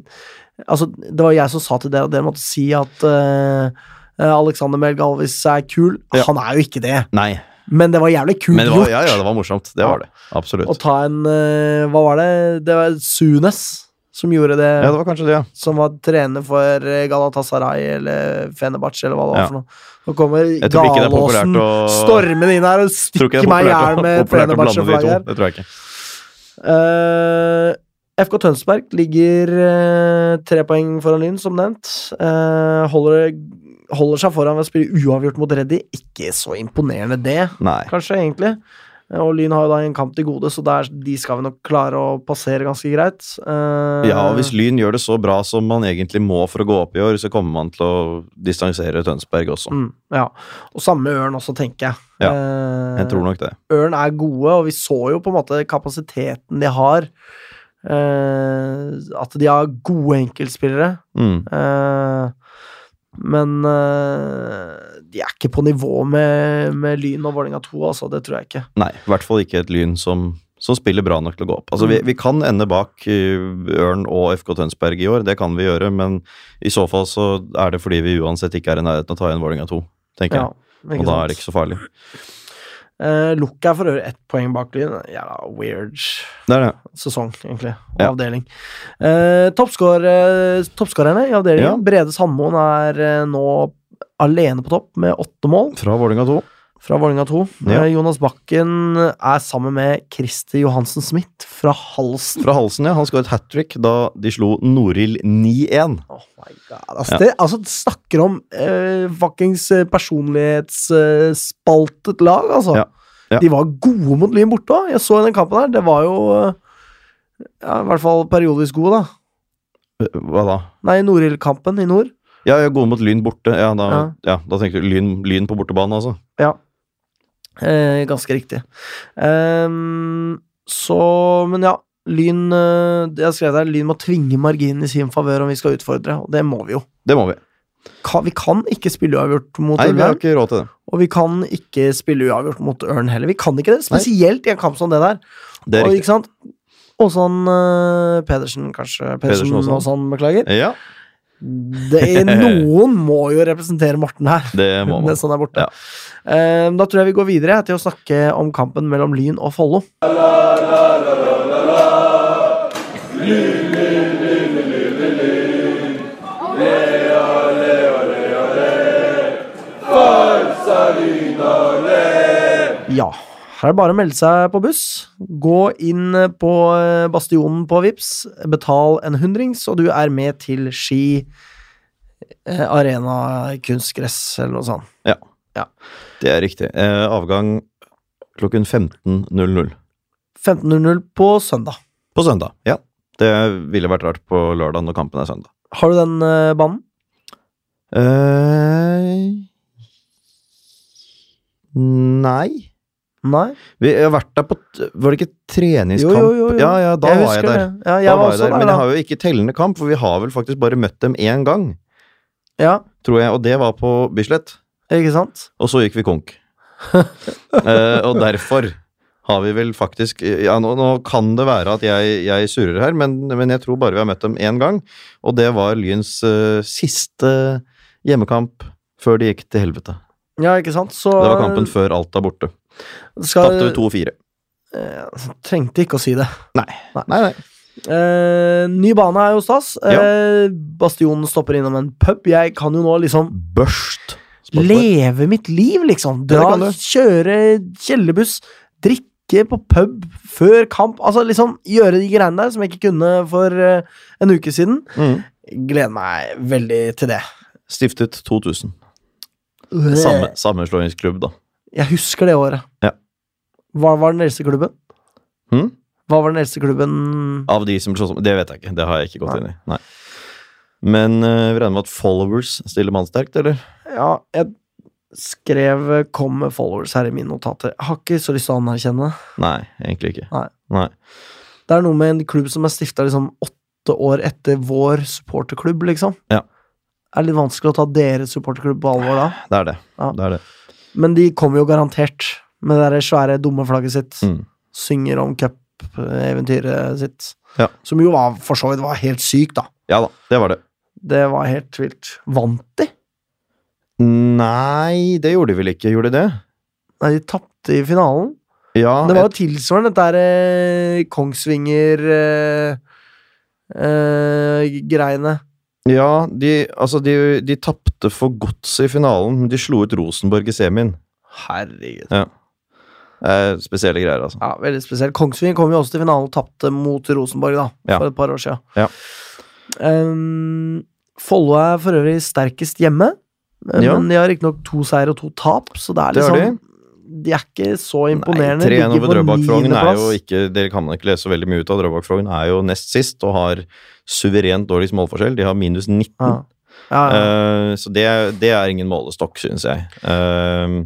A: Altså, det var jeg som sa til dere at dere måtte si at eh, Alexander Mehl Galvis er kul.
B: Ja.
A: Han er jo ikke det.
B: Nei.
A: Men det var jævlig kult
B: Men det var,
A: gjort
B: ja, ja, det var morsomt. Det var det.
A: å
B: Absolutt.
A: ta en eh, Hva var det? Det var Sunes som gjorde det.
B: Ja, det var kanskje det, ja.
A: Som var trener for eh, Galatasaray eller Fenerbahçe eller hva det var
B: Ja.
A: for noe. Nå kommer
B: Jeg tror ikke det er populært
A: Galåsen
B: å-
A: stormende inn her og
B: Tror ikke
A: stikker
B: det er
A: meg i
B: populært,
A: hjel
B: å-
A: med
B: populært å blande de
A: Fenerbahçe-flagget
B: to.
A: her.
B: Det tror jeg ikke.
A: Eh, FK Tønsberg ligger eh, tre poeng foran Lyn, som nevnt. Eh, holder, holder seg foran ved å spille uavgjort mot Reddy. Ikke så imponerende, det
B: Nei.
A: kanskje, egentlig. Eh, Og Lyn har jo da en kamp til gode, så der, de skal vi nok klare å passere ganske greit. Eh,
B: Ja, og hvis Lyn gjør det så bra som man egentlig må for å gå opp i år, så kommer man til å distansere Tønsberg også.
A: mm, ja. Og samme med Ørn også, tenker jeg.
B: Ja,
A: Eh,
B: Jeg tror nok det.
A: Ørn er gode, og vi så jo på en måte kapasiteten de har. Eh, at de har gode enkeltspillere.
B: Mm.
A: Eh, men eh, de er ikke på nivå med, med Lyn og Vålerenga 2, altså. Det tror jeg ikke.
B: Nei, i hvert fall ikke et Lyn som, som spiller bra nok til å gå opp. Altså, vi, vi kan ende bak eh, Ørn og FK Tønsberg i år, det kan vi gjøre, men i så fall så er det fordi vi uansett ikke er i nærheten av å ta igjen Vålerenga 2, tenker jeg.
A: ikke
B: Og da
A: sant?
B: er det ikke så farlig.
A: Eh, Lukk er for øvrig ett poeng bak Lyn. Jævla weird
B: Det er det.
A: sesong, egentlig. Og
B: Ja.
A: avdeling. Eh, toppskår- eh, Toppskårerne i avdelingen.
B: Ja.
A: Brede Sandmoen er eh, nå alene på topp med åtte mål
B: Fra Vålerenga 2.
A: fra Vålerenga 2.
B: Ja.
A: Eh, Jonas Bakken er sammen med Christer Johansen Smith fra Halsen.
B: Fra Halsen, ja. Han skåret hat trick da de slo Noril 9-1.
A: Oh my god. Altså, det, altså, det snakker om eh, fuckings eh, personlighetsspaltet lag, altså.
B: Ja. Ja.
A: De var gode mot Lyn borte òg. Jeg så den kampen der. Det var jo eh, ja, i hvert fall periodisk gode, da.
B: Hva da?
A: Nei, Norhild-kampen i nord.
B: Ja, jeg er god mot Lyn borte. Ja, da,
A: Ja.
B: ja, da tenkte du lyn, lyn på bortebane, altså.
A: Ja. Eh, ganske riktig. Ehm, så Men ja. Lyn eh, det jeg skrev der, Lyn må tvinge marginen i sin favør om vi skal utfordre, og det må vi jo.
B: Det må vi.
A: Ka- vi kan ikke spille uavgjort mot
B: Nei, vi har
A: Ørn,
B: ikke råd til det.
A: og vi kan ikke spille uavgjort mot Ørn heller. Vi kan ikke det,
B: Nei.
A: spesielt i en kamp som det der.
B: Det er
A: og,
B: riktig.
A: ikke sant? Åsan eh, Pedersen, kanskje. Pedersen,
B: Pedersen Åsan.
A: Åsan. beklager.
B: Ja, *laughs*
A: Det, noen må jo representere Morten her.
B: det må man.
A: Mens han er sånn borte. Eh, da tror jeg vi går videre til å snakke om kampen mellom Lyn og Follo. Ja. Her er det bare å melde seg på buss. Gå inn på eh, Bastionen på Vips, betal en hundrings, og du er med til Ski eh, Arena kunstgress eller noe sånt.
B: Ja.
A: Ja.
B: Det er riktig. Eh, avgang klokken 15.00
A: 15.00 på søndag.
B: på søndag. Ja. Det ville vært rart på lørdag når kampen er søndag.
A: Har du den eh, banen?
B: eh Nei
A: Nei?
B: Vi har vært der på t- Var det ikke treningskamp?
A: Jo, jo, jo, jo.
B: Ja, ja, da var jeg
A: husker
B: der.
A: det. Ja, jeg
B: Da
A: var
B: var jeg
A: også
B: der,
A: der, da.
B: men jeg har jo ikke tellende kamp, for vi har vel faktisk bare møtt dem én gang,
A: Ja,
B: tror jeg, og det var på Bislett.
A: ikke sant?
B: Og så gikk vi
A: *laughs*
B: konk. Eh, og derfor har vi vel faktisk Ja, nå, nå kan det være at jeg, jeg surrer her, men, men jeg tror bare vi har møtt dem én gang, og det var Lyns eh, siste hjemmekamp før de gikk til helvete.
A: Ja, ikke sant? Så eh,
B: Det var kampen før alt er borte.
A: skal, Eh,
B: Tapte 2-4.
A: Trengte ikke å si det.
B: Nei, nei.
A: Eh, ny bane er jo stas. Eh, Bastionen stopper innom en pub. Jeg kan jo nå liksom
B: Børst.
A: leve mitt liv, liksom.
B: Ja, det
A: Dra,
B: kan du.
A: kjøre kjellerbuss, drikke på pub før kamp. Altså liksom gjøre de greiene der som jeg ikke kunne for eh, en uke siden.
B: Mm.
A: Gleder meg veldig til det.
B: Stiftet 2000. Samme, sammenslåingsklubb, da.
A: Jeg husker det året.
B: Ja.
A: Hva var den eldste klubben?
B: Hm?
A: Hva var den eldste klubben
B: Av de som slåss om Det vet jeg ikke. Det har jeg ikke gått inn i. Nei. Men eh, vi regner med at followers stiller mannsterkt, eller?
A: Ja, jeg skrev eh, 'kom med followers' her i mine notater. Jeg har ikke så lyst til å anerkjenne det.
B: Nei, egentlig ikke.
A: Nei. Det er noe med en klubb som er stifta liksom åtte år etter vår supporterklubb, liksom.
B: Ja.
A: Er litt vanskelig å ta deres supporterklubb på alvor da.
B: Det er det.
A: Ja.
B: det, er det.
A: Men de kommer jo garantert med det der svære, dumme flagget sitt.
B: Mm.
A: Synger om cup-eventyret sitt.
B: Ja.
A: Som jo var, for så vidt var helt sykt, da.
B: Ja da, det var det.
A: Det var helt vilt. Vant de?
B: Nei, det gjorde de vel ikke? Gjorde de det?
A: Nei, de tapte i finalen.
B: Ja,
A: det var jo tilsvarende dette her eh, Kongsvinger eh, eh, greiene.
B: et- ja de, altså de, de tapte for godset i finalen, men de slo ut Rosenborg i semien.
A: Herregud.
B: Ja. Eh, spesielle greier, altså.
A: Ja, veldig spesielt. Kongsvinger kom jo også til finalen og tapte mot Rosenborg da,
B: Ja.
A: for et par år siden.
B: Ja.
A: Ehm, Follo er for øvrig sterkest hjemme, eh,
B: Ja.
A: men de har riktignok to seier og to tap, så det er
B: Det har
A: liksom De er ikke så imponerende.
B: Nei, 3-1
A: Ligger
B: over
A: på
B: Drøbak Frogn er jo
A: niendeplass.
B: ikke Dere kan ikke lese så veldig mye ut av Drøbak Frogn. Er jo nest sist og har suverent dårligst målforskjell. De har minus 19.
A: ja. Ja, ja.
B: Eh, så det, det er ingen målestokk, syns jeg. Eh,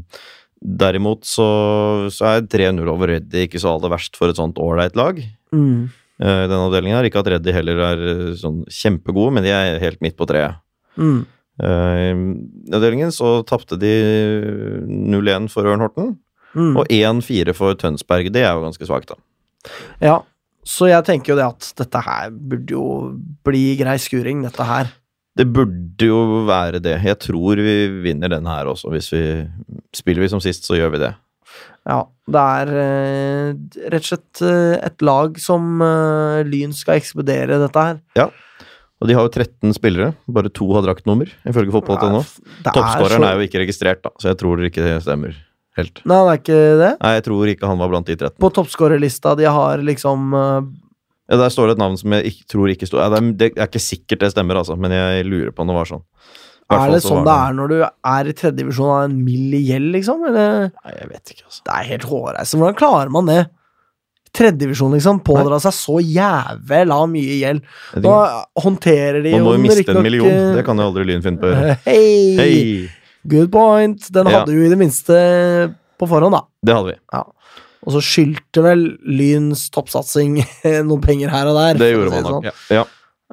B: derimot så, så er 3-0 over Reddy ikke så aller verst for et sånt ålreit lag.
A: Mm.
B: eh, i denne avdelingen her. Ikke at Reddy heller er eh, sånn kjempegode, men de er helt midt på treet.
A: Mm.
B: Eh, I avdelingen så tapte de 0-1 for Ørn Horten,
A: Mm.
B: og 1-4 for Tønsberg. Det er jo ganske svakt, da.
A: Ja, så jeg tenker jo det at dette her burde jo bli grei skuring, dette her.
B: Det burde jo være det. Jeg tror vi vinner den her også. Hvis vi spiller vi som sist, så gjør vi det.
A: Ja, det er eh, rett og slett eh, et lag som eh, Lyn skal ekspedere dette her.
B: Og de har jo 13 spillere. Bare to har draktnummer, ifølge fotball.no.
A: Det
B: Toppskåreren
A: så-
B: er jo ikke registrert, da, så jeg tror ikke det stemmer helt.
A: Nei, det er ikke det.
B: Nei, jeg tror ikke han var blant de 13.
A: På toppskårerlista de har liksom eh,
B: Ja, der står det et navn som jeg ikke, tror ikke står ja, det, er, det er ikke sikkert det stemmer, altså, men jeg lurer på om det var sånn. I hvert
A: Er
B: fall
A: det
B: så
A: sånn
B: var
A: det er når du er i tredje divisjon av en mild gjeld, liksom? Eller?
B: Nei, jeg vet ikke, altså.
A: Det er helt hårreisende. Hvordan klarer man det? tredjedivisjon, liksom, pådra seg så jævla mye gjeld.
B: Jeg
A: Nå
B: tenker-
A: håndterer de
B: Man må jo
A: den
B: miste
A: riktignok,
B: en million.
A: eh,
B: Det kan jo aldri Lyn finne på å gjøre.
A: Hei!
B: Hei!
A: Good point. Den
B: Ja.
A: hadde du i det minste på forhånd, da.
B: Det hadde vi.
A: Ja. Og så skyldte vel Lyns toppsatsing *laughs* noen penger her og der. for
B: Det
A: å
B: gjorde
A: si
B: man nok.
A: sånn.
B: Ja. Ja.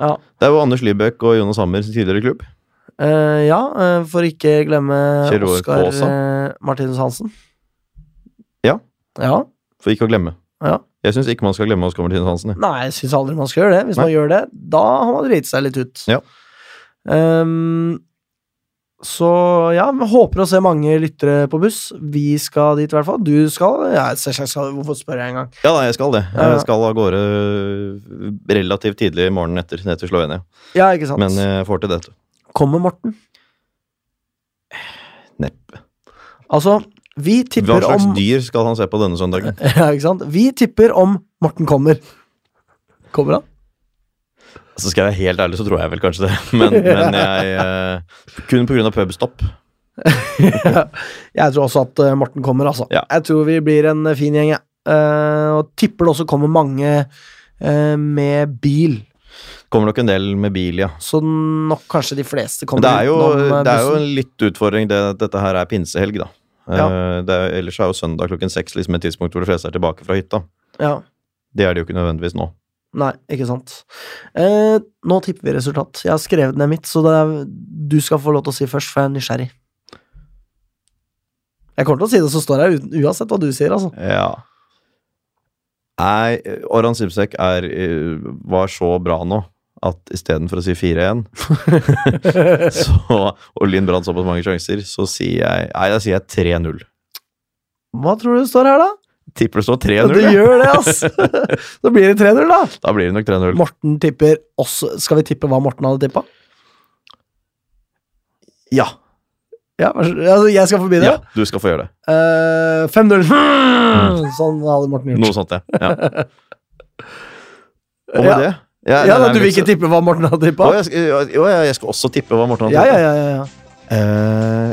A: Ja.
B: Det er jo Anders Lybøk og Jonas Hammer sin tidligere klubb.
A: Eh, ja, eh, for ikke glemme
B: Kjell Roar
A: Oskar
B: Kaasa.
A: eh, Martinus Hansen.
B: Ja.
A: Ja.
B: For ikke å glemme.
A: Ja.
B: Jeg syns ikke man skal glemme Oskar Martine Hansen. jeg.
A: Nei, jeg syns aldri man skal gjøre det. Hvis
B: Nei.
A: man gjør det, da har man driti seg litt ut.
B: Ja.
A: Ehm, så ja, vi håper å se mange lyttere på buss. Vi skal dit, i hvert fall. Du skal? Ja, selvsagt skal Hvorfor spør jeg engang?
B: Ja, nei, jeg skal det.
A: Ja, ja.
B: Jeg skal av gårde øh, relativt tidlig morgenen etter ned til Slovenia.
A: Ja, ikke sant.
B: Men eh, jeg får til det.
A: Kommer Morten?
B: Neppe.
A: Altså, vi
B: Hva
A: tipper
B: slags
A: om
B: dyr skal han se på denne søndagen?
A: *laughs*
B: *laughs*
A: Ja, ikke sant? Vi tipper om Morten kommer.
B: *laughs*
A: Kommer han?
B: Så Altså, skal jeg være helt ærlig, så tror jeg vel kanskje det. *laughs* Men, men jeg eh, Kun pga. pubstopp.
A: Jeg tror også at eh, Morten kommer, altså.
B: Ja.
A: Jeg tror vi blir en eh, fin gjeng, jeg. Eh, og tipper det også kommer mange eh, med bil.
B: Kommer nok en del med bil, ja.
A: Så nok kanskje de fleste
B: Men
A: kommer
B: det er jo,
A: utenom, eh,
B: det er jo
A: bussen.
B: en litt utfordring det at dette her er pinsehelg, da.
A: Ja.
B: Eh, Det er, ellers er jo søndag klokken seks liksom et tidspunkt hvor de fleste er tilbake fra hytta.
A: Ja.
B: Det er de jo ikke nødvendigvis nå.
A: Nei, ikke sant. Eh, nå tipper vi resultat. Jeg har skrevet ned mitt, så det er, du skal få lov til å si først, for jeg er nysgjerrig. Jeg kommer til å si det, så står jeg uten, uansett hva du sier, altså.
B: Ja. Nei, Oran Sibsek er, eh, var så bra nå at istedenfor å si 4-1 *laughs* så- og Linn brant såpass mange sjanser, så sier jeg Nei, da sier jeg 3-0.
A: Hva tror du det står her, da?
B: Tipper det står
A: Ja,
B: 3-0.
A: det
B: jeg.
A: gjør det,
B: *laughs*
A: ass! Så blir det 3-0, da.
B: Da blir det nok 3-0.
A: Morten tipper også Skal vi tippe hva Morten hadde tippa?
B: Ja.
A: Ja, vær så- altså, jeg skal forbi det.
B: ja, du skal få gjøre det.
A: Eh, 5-0.
B: Mm.
A: Sånn hadde Morten gjort.
B: Noe sånt, ja.
A: *laughs*
B: ja. Og med
A: Ja.
B: det ja,
A: Ja,
B: nei,
A: da,
B: nei,
A: du vil
B: liksom-
A: ikke tippe hva Morten hadde tippa?
B: Å, jeg, skal, ja, ja, jeg skal også tippe hva Morten har
A: Ja, ja,
B: tippet.
A: ja, ja, ja.
B: Eh,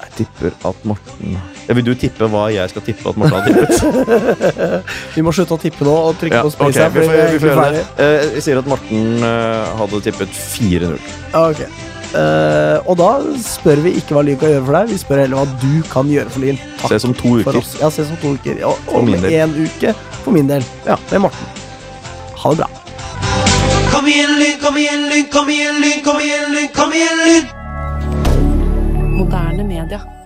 B: jeg tipper at Morten ja, Vil du tippe hva jeg skal tippe at Morten har
A: *laughs*
B: tippet?
A: Vi må slutte å tippe nå og trykke
B: Ja,
A: på
B: ok,
A: space. her,
B: vi
A: fordi
B: får, vi
A: egentlig
B: får gjøre det.
A: ferdig.
B: Eh, jeg sier at Morten eh, hadde tippet 4-0.
A: Ok. Eh, og da spør vi ikke hva Lyn kan gjøre for deg, vi spør heller hva du kan gjøre for Lyn. Takk
B: Ses om
A: Ah,
B: to
A: for
B: uker.
A: oss. Ja, ses om to uker. Og,
B: For
A: og
B: min
A: med
B: del.
A: én uke for min del. Ja, med Morten. Ha det bra.
D: Kom igjen, Lyn, kom igjen, Lyn, kom igjen, Lyn, kom igjen, Lyn, kom igjen, Lyn!
F: Moderne media.